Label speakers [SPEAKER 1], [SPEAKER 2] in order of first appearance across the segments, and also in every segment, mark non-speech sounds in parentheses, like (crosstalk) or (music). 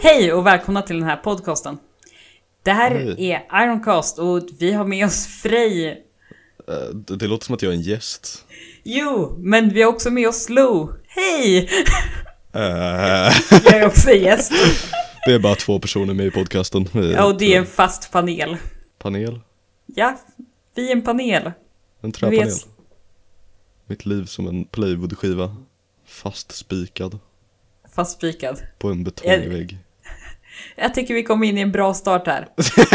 [SPEAKER 1] Hej och välkomna till den här podcasten. Det här
[SPEAKER 2] Hej.
[SPEAKER 1] är Ironcast och vi har med oss Frej.
[SPEAKER 2] Eh, Det det låter som att jag är en gäst.
[SPEAKER 1] Jo, men vi har också med oss Lo. Hej!
[SPEAKER 2] Eh, (laughs)
[SPEAKER 1] Jag är också gäst.
[SPEAKER 2] Det är bara två personer med i podcasten. Vi är
[SPEAKER 1] Ja, och det är en
[SPEAKER 2] en
[SPEAKER 1] fast panel.
[SPEAKER 2] panel.
[SPEAKER 1] Ja, vi är en panel.
[SPEAKER 2] En
[SPEAKER 1] Du
[SPEAKER 2] träpanel.
[SPEAKER 1] vet,
[SPEAKER 2] Mitt liv som en plywoodskiva. Fastspikad
[SPEAKER 1] fastspikad.
[SPEAKER 2] på en betongvägg.
[SPEAKER 1] Jag tycker vi kom in i en bra start här.
[SPEAKER 2] För er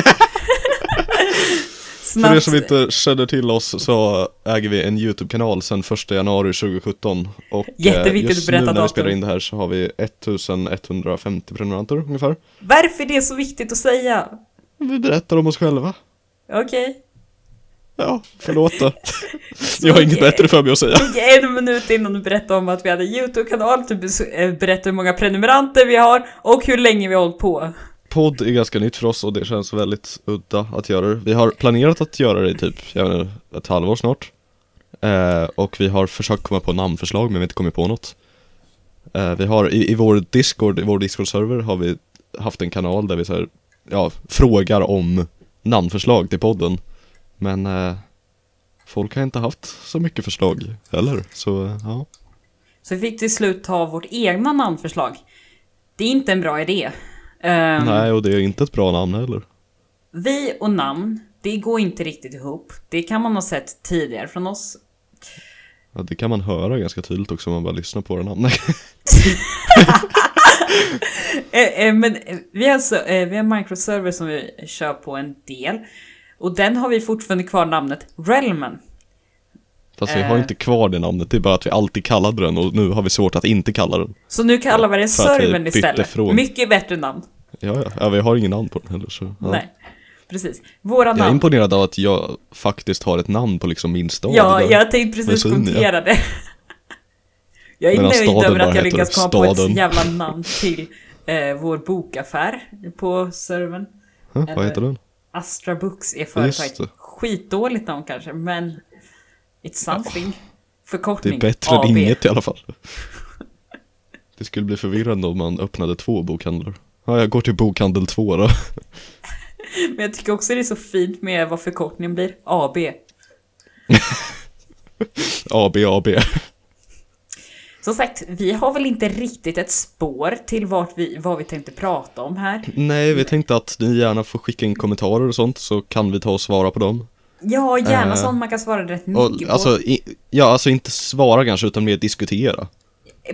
[SPEAKER 1] Snabbt.
[SPEAKER 2] som inte känner till oss så äger vi en YouTube-kanal sedan 1 januari 2017. Och eh,
[SPEAKER 1] Jätteviktigt
[SPEAKER 2] just
[SPEAKER 1] att berätta
[SPEAKER 2] nu när vi
[SPEAKER 1] datum.
[SPEAKER 2] spelar in det här så har vi 1150 prenumeranter ungefär.
[SPEAKER 1] Varför är det så viktigt att säga?
[SPEAKER 2] Vi berättar om oss själva.
[SPEAKER 1] Okej.
[SPEAKER 2] Ja,
[SPEAKER 1] (laughs)
[SPEAKER 2] förlåt då. Jag har inget bättre för mig att säga.
[SPEAKER 1] tog en minut innan du berättade om att vi hade en YouTube-kanal, typ eh, berätta hur många prenumeranter vi har och hur länge vi har hållit på.
[SPEAKER 2] Podd är ganska nytt för oss och det känns väldigt udda att göra det. Vi har planerat att göra det i typ, jag vet inte, ett halvår snart. Eh, och vi har försökt komma på namnförslag men vi har inte kommit på något. Eh, vi har i, i vår Discord, i vår Discord-server har vi haft en kanal där vi så här, ja, frågar om namnförslag till podden. Men eh, folk har inte haft så mycket förslag heller, så eh, ja.
[SPEAKER 1] Så vi fick till slut ta vårt egna namnförslag. Det är inte en bra idé. Ehm,
[SPEAKER 2] Nej, och det är inte ett bra namn heller.
[SPEAKER 1] Vi och namn, det går inte riktigt ihop. Det kan man ha sett tidigare från oss.
[SPEAKER 2] Ja, det kan man höra ganska tydligt också om man bara lyssnar på våra namn. (laughs)
[SPEAKER 1] Eh, eh, men eh, vi har, alltså, eh, vi har en microserver som vi kör på en del. Och den har vi fortfarande kvar namnet Realmen.
[SPEAKER 2] Fast vi har
[SPEAKER 1] Eh.
[SPEAKER 2] inte kvar det namnet, det är bara att vi alltid kallade den och nu har vi svårt att inte kalla den.
[SPEAKER 1] Så nu kallar vi det
[SPEAKER 2] För att vi
[SPEAKER 1] servern
[SPEAKER 2] bytte
[SPEAKER 1] istället.
[SPEAKER 2] från-
[SPEAKER 1] Mycket bättre namn.
[SPEAKER 2] Ja, ja, ja vi har ingen namn på den heller så. Ja.
[SPEAKER 1] Nej, precis. Våra
[SPEAKER 2] Jag är
[SPEAKER 1] namn.
[SPEAKER 2] imponerad av att jag faktiskt har ett namn på liksom min stad.
[SPEAKER 1] ja,
[SPEAKER 2] där.
[SPEAKER 1] jag tänkte
[SPEAKER 2] Men
[SPEAKER 1] precis
[SPEAKER 2] så inne, ja.
[SPEAKER 1] kommentera det. (laughs) Jag är
[SPEAKER 2] Medan
[SPEAKER 1] nöjd
[SPEAKER 2] staden
[SPEAKER 1] över att
[SPEAKER 2] bara
[SPEAKER 1] jag
[SPEAKER 2] heter
[SPEAKER 1] lyckats komma på ett
[SPEAKER 2] staden.
[SPEAKER 1] jävla namn till eh, vår bokaffär på servern.
[SPEAKER 2] Hä, vad heter den?
[SPEAKER 1] Astra Books är
[SPEAKER 2] Just
[SPEAKER 1] företaget.
[SPEAKER 2] det.
[SPEAKER 1] Skitdåligt namn kanske, men it's something.
[SPEAKER 2] Det
[SPEAKER 1] Förkortning
[SPEAKER 2] är bättre
[SPEAKER 1] AB.
[SPEAKER 2] än inget i alla fall. (laughs) Det skulle bli förvirrande om man öppnade två bokhandlar. Ja, jag går till bokhandel två då. (laughs)
[SPEAKER 1] Men jag tycker också det är så fint med vad förkortningen blir. AB.
[SPEAKER 2] AB, AB.
[SPEAKER 1] Som sagt, vi har väl inte riktigt ett spår till vart vi, vad vi tänkte prata om här.
[SPEAKER 2] Nej, vi tänkte att ni gärna får skicka in kommentarer och sånt så kan vi ta och svara på dem.
[SPEAKER 1] Ja, gärna
[SPEAKER 2] Eh,
[SPEAKER 1] sånt man kan svara rätt mycket
[SPEAKER 2] Och,
[SPEAKER 1] på. Eh,
[SPEAKER 2] alltså, i, ja, alltså inte svara kanske utan mer diskutera.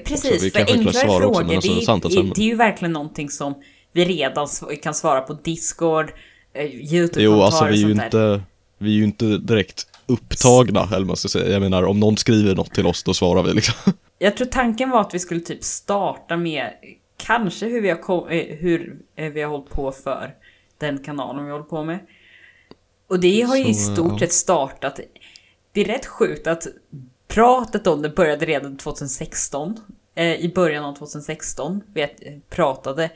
[SPEAKER 1] Precis,
[SPEAKER 2] så vi
[SPEAKER 1] för
[SPEAKER 2] kanske inte
[SPEAKER 1] enklare
[SPEAKER 2] klarar svar
[SPEAKER 1] frågor,
[SPEAKER 2] också, men
[SPEAKER 1] det,
[SPEAKER 2] alltså
[SPEAKER 1] är, det,
[SPEAKER 2] samtalsämnen.
[SPEAKER 1] är, det är ju verkligen någonting som vi redan sv- kan svara på Discord, eh, YouTube-kommentarer
[SPEAKER 2] Jo, alltså vi är
[SPEAKER 1] och
[SPEAKER 2] ju
[SPEAKER 1] sånt där.
[SPEAKER 2] inte, vi är ju inte direkt upptagna, eller vad man ska säga. Jag menar, om någon skriver något till oss, då svarar vi liksom. (laughs)
[SPEAKER 1] Jag tror tanken var att vi skulle typ starta med kanske hur vi har, kom, eh, hur eh, vi har hållit på för den kanalen vi håller på med. Och det har ju i
[SPEAKER 2] Så, eh,
[SPEAKER 1] stort
[SPEAKER 2] ja.
[SPEAKER 1] sett startat. Det är rätt sjukt att pratet om det började redan 2016. Eh, I början av 2016 vet, eh, pratade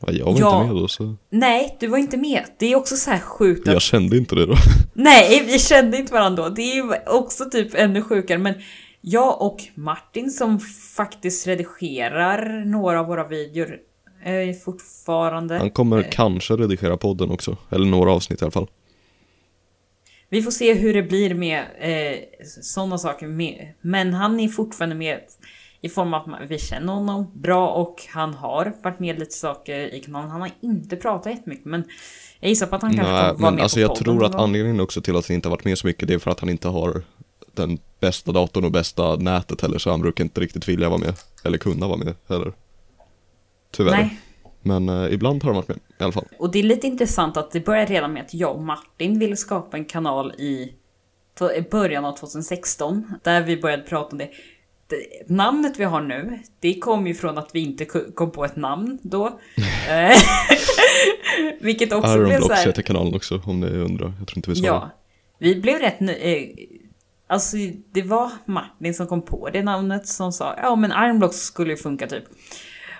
[SPEAKER 2] Ja, jag var
[SPEAKER 1] Ja.
[SPEAKER 2] inte med då, så
[SPEAKER 1] Nej, du var inte med. Det är också så här sjukt att...
[SPEAKER 2] jag kände inte det då.
[SPEAKER 1] Nej, vi kände inte varandra då. Det är ju också typ ännu sjukare. Men jag och Martin som faktiskt redigerar några av våra videor eh, fortfarande.
[SPEAKER 2] Han kommer kanske redigera podden också, eller några avsnitt i alla fall.
[SPEAKER 1] Vi får se hur det blir med eh, sådana saker. Med. Men han är fortfarande med i form av att man- vi känner honom bra och han har varit med lite saker i kanalen. Han har inte pratat jättemycket men jag gissar på att han kanske
[SPEAKER 2] Nej,
[SPEAKER 1] kommer vara
[SPEAKER 2] men
[SPEAKER 1] med
[SPEAKER 2] alltså
[SPEAKER 1] på
[SPEAKER 2] jag
[SPEAKER 1] podden
[SPEAKER 2] tror
[SPEAKER 1] någon
[SPEAKER 2] att
[SPEAKER 1] gång.
[SPEAKER 2] anledningen också till att han inte har varit med så mycket, det är för att han inte har den bästa datorn och bästa nätet heller, så han brukar inte riktigt vilja vara med, eller kunna vara med heller. Tyvärr.
[SPEAKER 1] Nej.
[SPEAKER 2] Men eh, ibland har han varit med, i alla fall.
[SPEAKER 1] Och det är lite intressant att det började redan med att jag och Martin ville skapa en kanal i to- i början av 2016 där vi började prata om det. det namnet vi har nu, det kom ju från att vi inte ku- kom på ett namn
[SPEAKER 2] (laughs)
[SPEAKER 1] då. Eh, (laughs) Vilket också blev så
[SPEAKER 2] Ironblocks
[SPEAKER 1] här.
[SPEAKER 2] heter kanalen också, om ni undrar. Jag tror inte vi sa det.
[SPEAKER 1] Ja, vi blev rätt nö- eh, Alltså det var Martin som kom på det namnet som sa ja men Ironblocks skulle ju funka typ.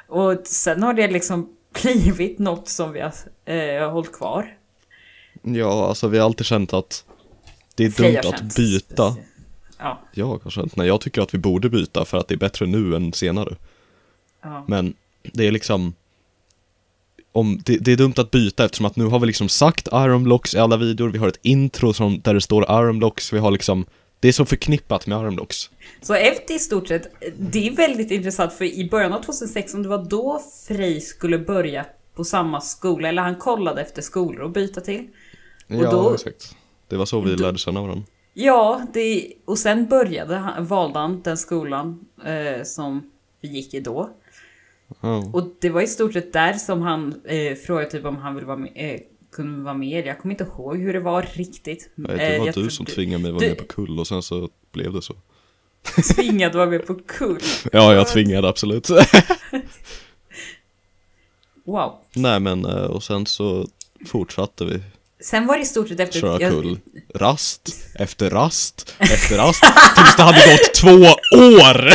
[SPEAKER 1] Och sen har det liksom (laughs) blivit något som vi har eh, hållit kvar.
[SPEAKER 2] Ja, alltså vi har alltid känt att det är
[SPEAKER 1] Freja
[SPEAKER 2] dumt
[SPEAKER 1] känns
[SPEAKER 2] att byta.
[SPEAKER 1] speciell. Ja,
[SPEAKER 2] Ja, kanske inte. Nej, jag tycker att vi borde byta för att det är bättre nu än senare.
[SPEAKER 1] ja.
[SPEAKER 2] Men det är liksom, om, det, det är dumt att byta eftersom att nu har vi liksom sagt Ironblocks i alla videor, vi har ett intro som, där det står Ironblocks, vi har liksom, det är så förknippat med Ironblocks.
[SPEAKER 1] Så efter i stort sett, det är väldigt intressant för i början av 2016, det var då Frej skulle börja på samma skola, eller han kollade efter skolor att byta till. Och
[SPEAKER 2] ja,
[SPEAKER 1] då-
[SPEAKER 2] exakt. Det var så vi lärde känna varandra.
[SPEAKER 1] Ja, det, och sen började han, valde han den skolan eh, som vi gick i då.
[SPEAKER 2] Ja.
[SPEAKER 1] Och det var i stort sett där som han eh, frågade typ om han ville vara med, eh, kunde vara med. Jag kommer inte ihåg hur det var riktigt.
[SPEAKER 2] Nej,
[SPEAKER 1] Eh,
[SPEAKER 2] det var
[SPEAKER 1] jag
[SPEAKER 2] du
[SPEAKER 1] tror
[SPEAKER 2] som tvingade mig att vara
[SPEAKER 1] du-
[SPEAKER 2] med på kull och sen så blev det så.
[SPEAKER 1] (laughs) tvingade vara med på kurs.
[SPEAKER 2] Ja, jag tvingade absolut.
[SPEAKER 1] Wow.
[SPEAKER 2] Nej men, eh, och sen så fortsatte vi
[SPEAKER 1] Sen var det i stort sett efter...
[SPEAKER 2] köra
[SPEAKER 1] jag-
[SPEAKER 2] kull. Rast, efter rast, efter rast, tills det hade gått två år!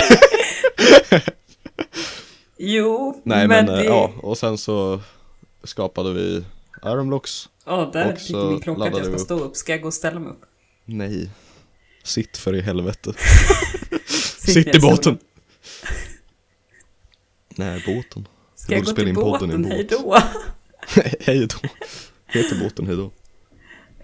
[SPEAKER 1] Jo,
[SPEAKER 2] Nej men,
[SPEAKER 1] det,
[SPEAKER 2] eh, ja, och sen så skapade vi Ironblocks.
[SPEAKER 1] Ja, där
[SPEAKER 2] och
[SPEAKER 1] fick
[SPEAKER 2] så
[SPEAKER 1] min klocka att jag
[SPEAKER 2] laddade
[SPEAKER 1] ska
[SPEAKER 2] vi
[SPEAKER 1] stå upp. Ska jag gå och ställa mig upp?
[SPEAKER 2] Nej. Sitt för i helvete.
[SPEAKER 1] Sitter
[SPEAKER 2] Sitt
[SPEAKER 1] jag
[SPEAKER 2] i
[SPEAKER 1] så?
[SPEAKER 2] båten! Nej, båten. (laughs)
[SPEAKER 1] Ska jag gå
[SPEAKER 2] borde
[SPEAKER 1] till
[SPEAKER 2] spela in podden i en
[SPEAKER 1] båten?
[SPEAKER 2] båt.
[SPEAKER 1] Hej då! (laughs)
[SPEAKER 2] Hej då. Heter båten hej då.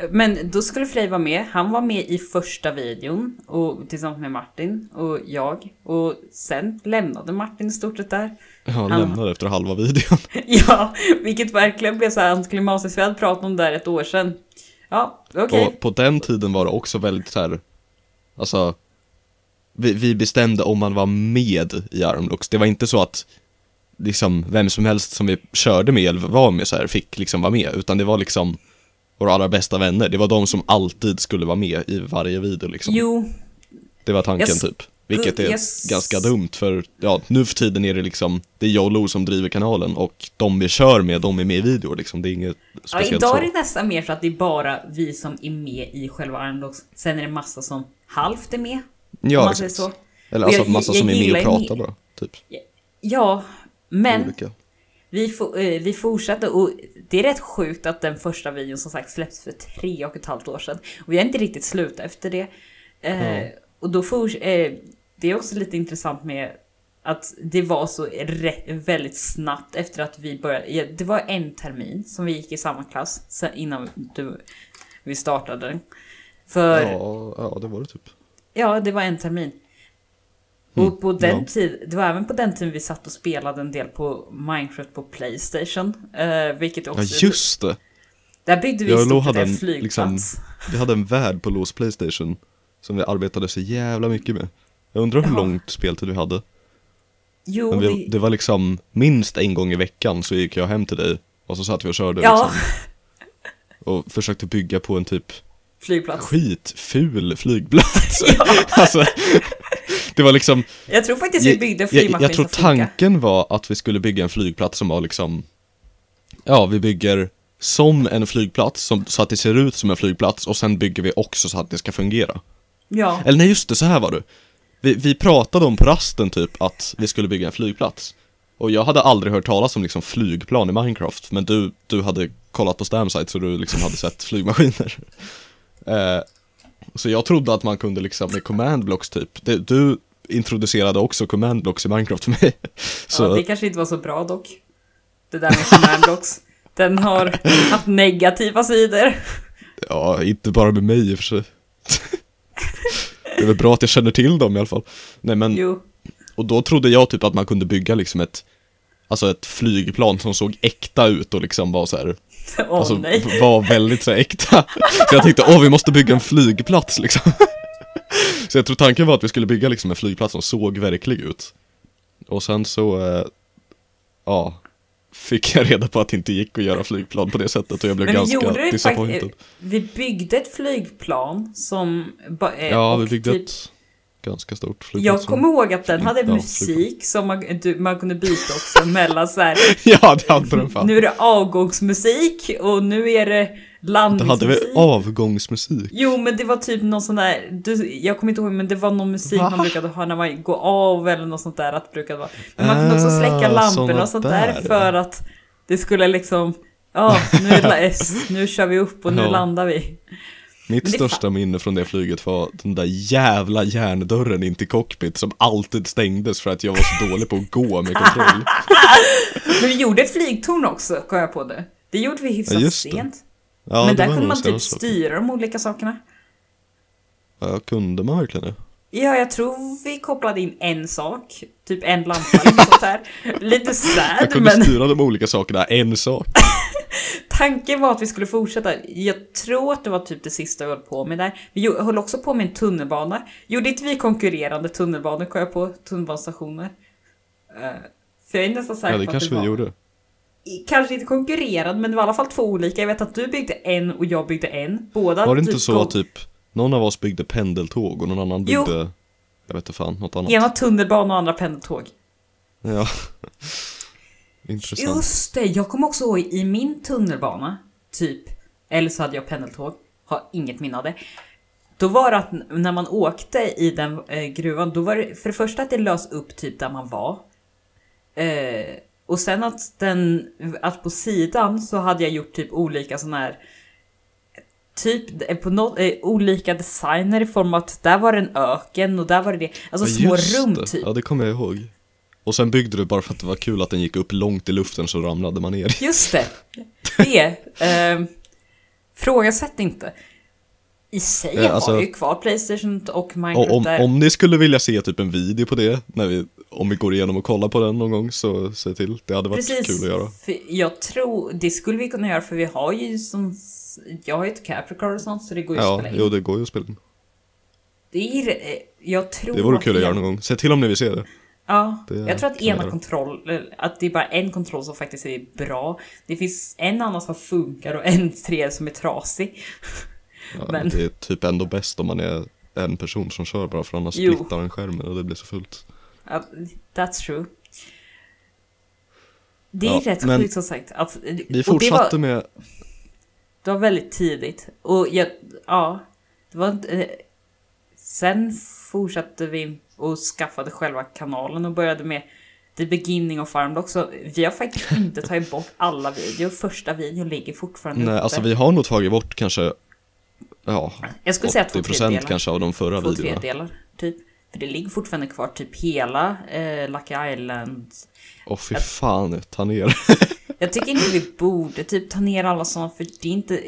[SPEAKER 1] Men då skulle Frej vara med. Han var med i första videon och, tillsammans med Martin och jag. Och sen lämnade Martin i stort sett där. (laughs)
[SPEAKER 2] Jag lämnade efter halva videon.
[SPEAKER 1] Ja, vilket verkligen blev så här antiklimatiskt. Vi hade pratat om det här ett år sedan. Ja, okej.
[SPEAKER 2] Och på den tiden var det också väldigt så här, alltså, vi, vi bestämde om man var med i Armlocks. Det var inte så att liksom vem som helst som vi körde med eller var med så här fick liksom vara med, utan det var liksom våra allra bästa vänner. Det var de som alltid skulle vara med i varje video liksom.
[SPEAKER 1] Jo,
[SPEAKER 2] Det var tanken
[SPEAKER 1] Jag s-
[SPEAKER 2] typ. Vilket är
[SPEAKER 1] jag s-
[SPEAKER 2] ganska dumt för, ja, nu för tiden är det liksom, det är jag och Lo som driver kanalen och de vi kör med, de är med i videor liksom. Det är inget
[SPEAKER 1] ja,
[SPEAKER 2] speciellt
[SPEAKER 1] idag
[SPEAKER 2] så.
[SPEAKER 1] är det nästan mer så att det är bara vi som är med i själva Armlocks. Sen är det massa som halvt är med.
[SPEAKER 2] Ja,
[SPEAKER 1] om man säger
[SPEAKER 2] exakt.
[SPEAKER 1] så.
[SPEAKER 2] Eller
[SPEAKER 1] Och
[SPEAKER 2] alltså
[SPEAKER 1] jag-
[SPEAKER 2] massa
[SPEAKER 1] jag
[SPEAKER 2] som är med
[SPEAKER 1] gillar
[SPEAKER 2] och
[SPEAKER 1] ju
[SPEAKER 2] pratar
[SPEAKER 1] ni-
[SPEAKER 2] bara, typ.
[SPEAKER 1] Ja, men
[SPEAKER 2] Olika.
[SPEAKER 1] vi, fo- eh, vi fortsatte och det är rätt sjukt att den första videon som sagt släpptes för tre och ett halvt år sedan. Och vi har inte riktigt slutat efter det. Eh,
[SPEAKER 2] Ja.
[SPEAKER 1] Och då for- eh, det är också lite intressant med att det var så re- väldigt snabbt efter att vi började. Ja, det var en termin som vi gick i samma klass sen innan du, vi startade. För
[SPEAKER 2] Ja, ja, det var det typ.
[SPEAKER 1] Ja, det var en termin.
[SPEAKER 2] Mm,
[SPEAKER 1] Och på den
[SPEAKER 2] ja.
[SPEAKER 1] tid, det var även på den tiden vi satt och spelade en del på Minecraft på Playstation. Eh, vilket också...
[SPEAKER 2] Ja, just det.
[SPEAKER 1] Där byggde vi
[SPEAKER 2] Jag
[SPEAKER 1] i
[SPEAKER 2] och Lo
[SPEAKER 1] stort sett
[SPEAKER 2] hade
[SPEAKER 1] en
[SPEAKER 2] en,
[SPEAKER 1] flygplats.
[SPEAKER 2] liksom- Vi hade en värld på Los Playstation som vi arbetade så jävla mycket med. Jag undrar hur
[SPEAKER 1] Ja.
[SPEAKER 2] långt speltid vi hade.
[SPEAKER 1] Jo,
[SPEAKER 2] Men vi,
[SPEAKER 1] det...
[SPEAKER 2] det var liksom minst en gång i veckan så gick jag hem till dig och så satt vi och körde
[SPEAKER 1] ja,
[SPEAKER 2] liksom, och försökte bygga på en typ
[SPEAKER 1] (laughs) flygplats.
[SPEAKER 2] skitful (laughs) flygplats. alltså, det var liksom,
[SPEAKER 1] Jag tror faktiskt vi
[SPEAKER 2] Jag-
[SPEAKER 1] byggde en
[SPEAKER 2] jag,
[SPEAKER 1] flygmaskin
[SPEAKER 2] jag tror
[SPEAKER 1] som funkar.
[SPEAKER 2] tanken var att vi skulle bygga en flygplats som var liksom Ja, vi bygger som en flygplats, som, så att det ser ut som en flygplats och sen bygger vi också så att det ska fungera (laughs)
[SPEAKER 1] Ja,
[SPEAKER 2] Eller nej just det, så här var det vi, vi pratade om på rasten typ att vi skulle bygga en flygplats Och jag hade aldrig hört talas om liksom flygplan i Minecraft Men du, du hade kollat på Stamsite så du liksom hade sett (laughs) flygmaskiner eh, Så jag trodde att man kunde liksom med command blocks typ det, Du introducerade också command blocks i Minecraft för mig (laughs) Så
[SPEAKER 1] ja, det kanske inte var så bra dock. Det där med command blocks. Den har haft negativa sidor.
[SPEAKER 2] Mm. Ja, inte bara med mig i och för sig. (laughs) det är väl bra att jag känner till dem i alla fall. Nej men,
[SPEAKER 1] Jo,
[SPEAKER 2] och då trodde jag typ att man kunde bygga liksom ett, alltså ett flygplan som såg äkta ut och liksom var så här,
[SPEAKER 1] åh
[SPEAKER 2] alltså
[SPEAKER 1] nej.
[SPEAKER 2] var väldigt så här äkta. så jag tänkte, åh vi måste bygga en flygplats liksom. (laughs) så jag tror tanken var att vi skulle bygga liksom en flygplats som såg verklig ut. Och sen så, eh, ja, fick jag reda på att det inte gick att göra flygplan på det sättet och jag blev
[SPEAKER 1] Men vi
[SPEAKER 2] ganska
[SPEAKER 1] gjorde det
[SPEAKER 2] disappointed.
[SPEAKER 1] faktiskt. Vi byggde ett flygplan som... ba- eh,
[SPEAKER 2] Ja,
[SPEAKER 1] och
[SPEAKER 2] vi byggde
[SPEAKER 1] typ-
[SPEAKER 2] ett ganska stort flygplan.
[SPEAKER 1] Jag kommer ihåg att den hade
[SPEAKER 2] Ja,
[SPEAKER 1] musik som man, du, man kunde byta också mellan så
[SPEAKER 2] (laughs)
[SPEAKER 1] här.
[SPEAKER 2] (laughs) Ja, det hade den fan.
[SPEAKER 1] Nu är det avgångsmusik och nu är det
[SPEAKER 2] Då hade
[SPEAKER 1] landningsmusik.
[SPEAKER 2] vi avgångsmusik.
[SPEAKER 1] Jo men det var typ någon sån där, du, jag kommer inte ihåg men det var någon musik
[SPEAKER 2] Va?
[SPEAKER 1] man brukade ha när man går av eller något sånt där att det brukade vara. Men man kunde också släcka
[SPEAKER 2] Ah,
[SPEAKER 1] lamporna
[SPEAKER 2] såna
[SPEAKER 1] och sånt där,
[SPEAKER 2] där.
[SPEAKER 1] för att
[SPEAKER 2] (laughs)
[SPEAKER 1] det skulle liksom, ja nu, är det la- nu kör vi upp och nu
[SPEAKER 2] Ja.
[SPEAKER 1] landar vi.
[SPEAKER 2] Mitt
[SPEAKER 1] Men det är
[SPEAKER 2] största minne från det flyget var den där jävla järndörren in till cockpit som alltid stängdes för att jag var så dålig på att
[SPEAKER 1] (laughs)
[SPEAKER 2] gå med kontroll.
[SPEAKER 1] Men vi gjorde ett flygtorn också, kom jag på det. Det gjorde vi hyfsat
[SPEAKER 2] Ja, just det.
[SPEAKER 1] sent.
[SPEAKER 2] Ja,
[SPEAKER 1] men
[SPEAKER 2] det
[SPEAKER 1] där
[SPEAKER 2] var
[SPEAKER 1] kunde
[SPEAKER 2] nog
[SPEAKER 1] man
[SPEAKER 2] en större
[SPEAKER 1] typ
[SPEAKER 2] sak.
[SPEAKER 1] styra de olika sakerna.
[SPEAKER 2] Ja, kunde man verkligen det?
[SPEAKER 1] Ja, jag tror vi kopplade in en sak. Typ en lampa eller något sånt
[SPEAKER 2] (laughs)
[SPEAKER 1] här. Lite
[SPEAKER 2] Jag
[SPEAKER 1] sad,
[SPEAKER 2] kunde
[SPEAKER 1] men
[SPEAKER 2] styra de olika sakerna, en sak.
[SPEAKER 1] (laughs) tanken var att vi skulle fortsätta. Jag tror att det var typ det sista vi höll på med där. Vi gjo- höll också på med en tunnelbana. Gjorde inte vi konkurrerande tunnelbanor, kom jag på, tunnelbanestationer? Eh, för jag är nästan säker
[SPEAKER 2] Ja,
[SPEAKER 1] på
[SPEAKER 2] det
[SPEAKER 1] att
[SPEAKER 2] kanske
[SPEAKER 1] var...
[SPEAKER 2] vi gjorde.
[SPEAKER 1] i- Kanske inte konkurrerande, men det var i alla fall två olika. Jag vet att du byggde en och jag byggde en. Båda
[SPEAKER 2] Var det inte så
[SPEAKER 1] gav-
[SPEAKER 2] att typ någon av oss byggde pendeltåg och någon annan
[SPEAKER 1] Jo.
[SPEAKER 2] byggde, jag vet inte fan, något annat?
[SPEAKER 1] Ena tunnelbana och andra pendeltåg.
[SPEAKER 2] Ja. (laughs) Intressant.
[SPEAKER 1] Just det, jag kommer också ihåg i min tunnelbana, typ, eller så hade jag pendeltåg, har inget minne av det. Då var det att n- när man åkte i den eh, gruvan, då var det för det första att det lös upp typ där man var. Eh, och sen att, den, att på sidan så hade jag gjort typ olika sådana här Typ eh, på nå- eh, olika designer i form av att där var det en öken och där var det det. Alltså små
[SPEAKER 2] Ja, just
[SPEAKER 1] rum
[SPEAKER 2] det.
[SPEAKER 1] typ.
[SPEAKER 2] Ja, det kommer jag ihåg. Och sen byggde du bara för att det var kul att den gick upp långt i luften så ramlade man ner.
[SPEAKER 1] Just det. Det. Eh, frågasätt inte. I sig
[SPEAKER 2] Ja, alltså-
[SPEAKER 1] har vi ju kvar Playstation och Minecraft
[SPEAKER 2] Och om,
[SPEAKER 1] där.
[SPEAKER 2] om ni skulle vilja se typ en video på det, när vi, om vi går igenom och kollar på den någon gång så säg till. Det hade varit
[SPEAKER 1] Precis.
[SPEAKER 2] kul att göra.
[SPEAKER 1] För jag tror, det skulle vi kunna göra för vi har ju som... Jag har ju ett Capricorn och sånt så det går ju att
[SPEAKER 2] Ja,
[SPEAKER 1] spela in.
[SPEAKER 2] jo det går ju att spela in.
[SPEAKER 1] Det, är, eh, jag tror
[SPEAKER 2] Det vore kul att göra
[SPEAKER 1] en-
[SPEAKER 2] någon gång. Se till om ni vill se det.
[SPEAKER 1] Ja,
[SPEAKER 2] Det
[SPEAKER 1] jag tror att
[SPEAKER 2] kan vi
[SPEAKER 1] ena
[SPEAKER 2] göra.
[SPEAKER 1] kontroll, eh, att det är bara en kontroll som faktiskt är bra. Det finns en annan som funkar och en tre som är trasig.
[SPEAKER 2] Ja,
[SPEAKER 1] Men-
[SPEAKER 2] Det är typ ändå bäst om man är en person som kör bara för annars
[SPEAKER 1] Jo.
[SPEAKER 2] splittar den skärmen och det blir så fullt.
[SPEAKER 1] Ja, That's true. Det är
[SPEAKER 2] Ja,
[SPEAKER 1] rätt
[SPEAKER 2] men-
[SPEAKER 1] sjukt som sagt. Att,
[SPEAKER 2] Vi
[SPEAKER 1] och det,
[SPEAKER 2] fortsatte
[SPEAKER 1] var,
[SPEAKER 2] med,
[SPEAKER 1] det var väldigt tidigt. Och jag, ja, det var inte... eh, Sen fortsatte vi och skaffade själva kanalen och började med The Beginning of Farmed också. Vi har faktiskt inte tagit bort alla videor. Första videon ligger fortfarande
[SPEAKER 2] nej
[SPEAKER 1] uppe.
[SPEAKER 2] alltså vi har nog tagit bort kanske, ja,
[SPEAKER 1] jag skulle säga två
[SPEAKER 2] 80%
[SPEAKER 1] tredjedelar.
[SPEAKER 2] kanske av de förra
[SPEAKER 1] Två
[SPEAKER 2] videorna.
[SPEAKER 1] tredjedelar, typ. För det ligger fortfarande kvar typ hela eh, Lucky Island
[SPEAKER 2] Åh fy fan, ta ner.
[SPEAKER 1] Jag tycker inte vi borde typ ta ner alla sådana för det är inte...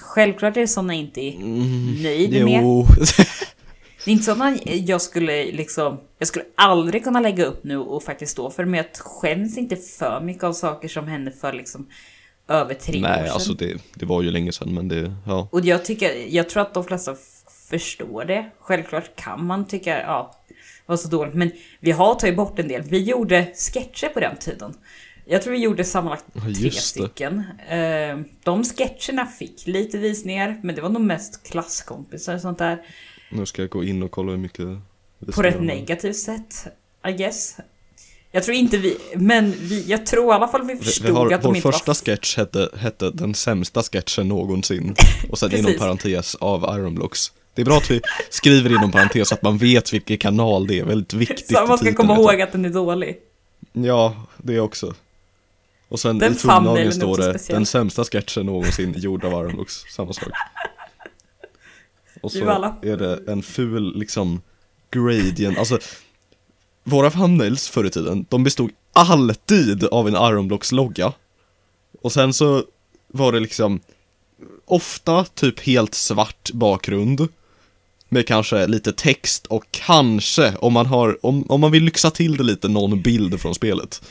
[SPEAKER 1] Självklart är det sådana jag inte är nöjd med.
[SPEAKER 2] Mm. Jo.
[SPEAKER 1] Det är inte sådana jag skulle liksom... Jag skulle aldrig kunna lägga upp nu och faktiskt stå för men jag skäms inte för mycket av saker som hände för liksom över tre år
[SPEAKER 2] (laughs) Nej,
[SPEAKER 1] sedan.
[SPEAKER 2] alltså det, det var ju länge sedan men det, ja.
[SPEAKER 1] Och jag tycker... Jag tror att de flesta f- förstår det. Självklart kan man tycka ja, det var så dåligt men vi har tagit bort en del. Vi gjorde sketcher på den tiden. Jag tror vi gjorde sammanlagt
[SPEAKER 2] Ja,
[SPEAKER 1] tre
[SPEAKER 2] just det.
[SPEAKER 1] stycken. Eh, De sketcherna fick lite visningar, men det var nog mest klasskompisar och sånt där.
[SPEAKER 2] Nu ska jag gå in och kolla hur mycket vi
[SPEAKER 1] På
[SPEAKER 2] ska
[SPEAKER 1] rätt
[SPEAKER 2] göra.
[SPEAKER 1] negativt sätt, I guess. Jag tror inte vi, men vi, jag tror i alla fall vi
[SPEAKER 2] Vi,
[SPEAKER 1] förstod
[SPEAKER 2] vi har,
[SPEAKER 1] att de
[SPEAKER 2] vår
[SPEAKER 1] inte var... (laughs)
[SPEAKER 2] första sketch hette, hette den sämsta
[SPEAKER 1] (laughs)
[SPEAKER 2] sketchen någonsin. Och sen inom
[SPEAKER 1] Precis.
[SPEAKER 2] parentes av Ironblocks. Det är bra att vi skriver inom parentes att man vet vilken kanal det är, väldigt viktigt.
[SPEAKER 1] Så man
[SPEAKER 2] i
[SPEAKER 1] ska
[SPEAKER 2] titeln,
[SPEAKER 1] komma
[SPEAKER 2] vet jag.
[SPEAKER 1] ihåg att den är dålig.
[SPEAKER 2] Ja, det också. Och sen
[SPEAKER 1] Den
[SPEAKER 2] i tonlagen
[SPEAKER 1] thumbnailen är
[SPEAKER 2] står
[SPEAKER 1] också
[SPEAKER 2] det
[SPEAKER 1] speciell.
[SPEAKER 2] den sämsta sketchen någonsin gjord av Ironblocks, samma sak. Och
[SPEAKER 1] Det
[SPEAKER 2] så
[SPEAKER 1] var alla.
[SPEAKER 2] är det en ful liksom gradient, alltså våra thumbnails förr i tiden, de bestod alltid av en Ironblocks-logga. Och sen så var det liksom ofta typ helt svart bakgrund. Med kanske lite text och kanske, om man har, om, om man vill lyxa till det lite, någon bild från spelet.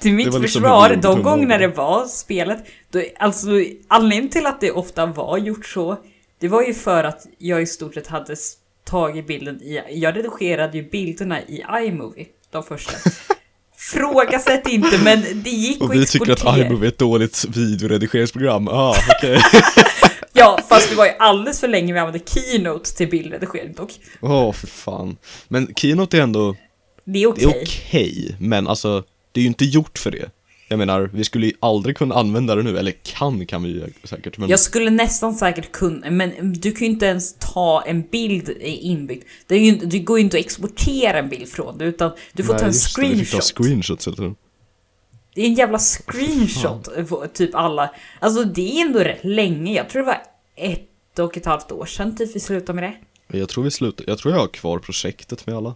[SPEAKER 1] Till mitt
[SPEAKER 2] var liksom
[SPEAKER 1] försvar,
[SPEAKER 2] hur vi
[SPEAKER 1] de
[SPEAKER 2] gjorde
[SPEAKER 1] gångerna det
[SPEAKER 2] tummen.
[SPEAKER 1] var spelet, då, alltså anledningen till att det ofta var gjort så, det var ju för att jag i stort sett hade s- tagit bilden i, jag redigerade ju bilderna i iMovie, de
[SPEAKER 2] (laughs)
[SPEAKER 1] första. Frågasätt inte, men det gick
[SPEAKER 2] Och
[SPEAKER 1] att
[SPEAKER 2] vi tycker
[SPEAKER 1] exportera.
[SPEAKER 2] att iMovie är ett dåligt videoredigeringsprogram. Ah, okej.
[SPEAKER 1] Ja, fast det var ju alldeles för länge vi använde Keynote till bildredigering dock.
[SPEAKER 2] Åh, för fan. Men Keynote är ändå,
[SPEAKER 1] Det är
[SPEAKER 2] det
[SPEAKER 1] okej.
[SPEAKER 2] är okej, men alltså, det är ju inte gjort för det. Jag menar, vi skulle ju aldrig kunna använda det nu, eller kan kan vi ju säkert, men
[SPEAKER 1] Jag skulle nästan säkert kunna, men du kan ju inte ens ta en bild inbyggd. Det, är ju, inte- det går ju inte att exportera en bild från det, utan du får
[SPEAKER 2] Nej,
[SPEAKER 1] ta en
[SPEAKER 2] just det, vi fick ta
[SPEAKER 1] screenshot.
[SPEAKER 2] screenshots hela tiden.
[SPEAKER 1] det är en jävla screenshot, eh, på typ alla. Alltså det är ändå rätt länge, jag tror det var ett och ett halvt år sedan typ vi slutade med det.
[SPEAKER 2] Jag tror vi slutar, jag tror jag har kvar projektet med alla.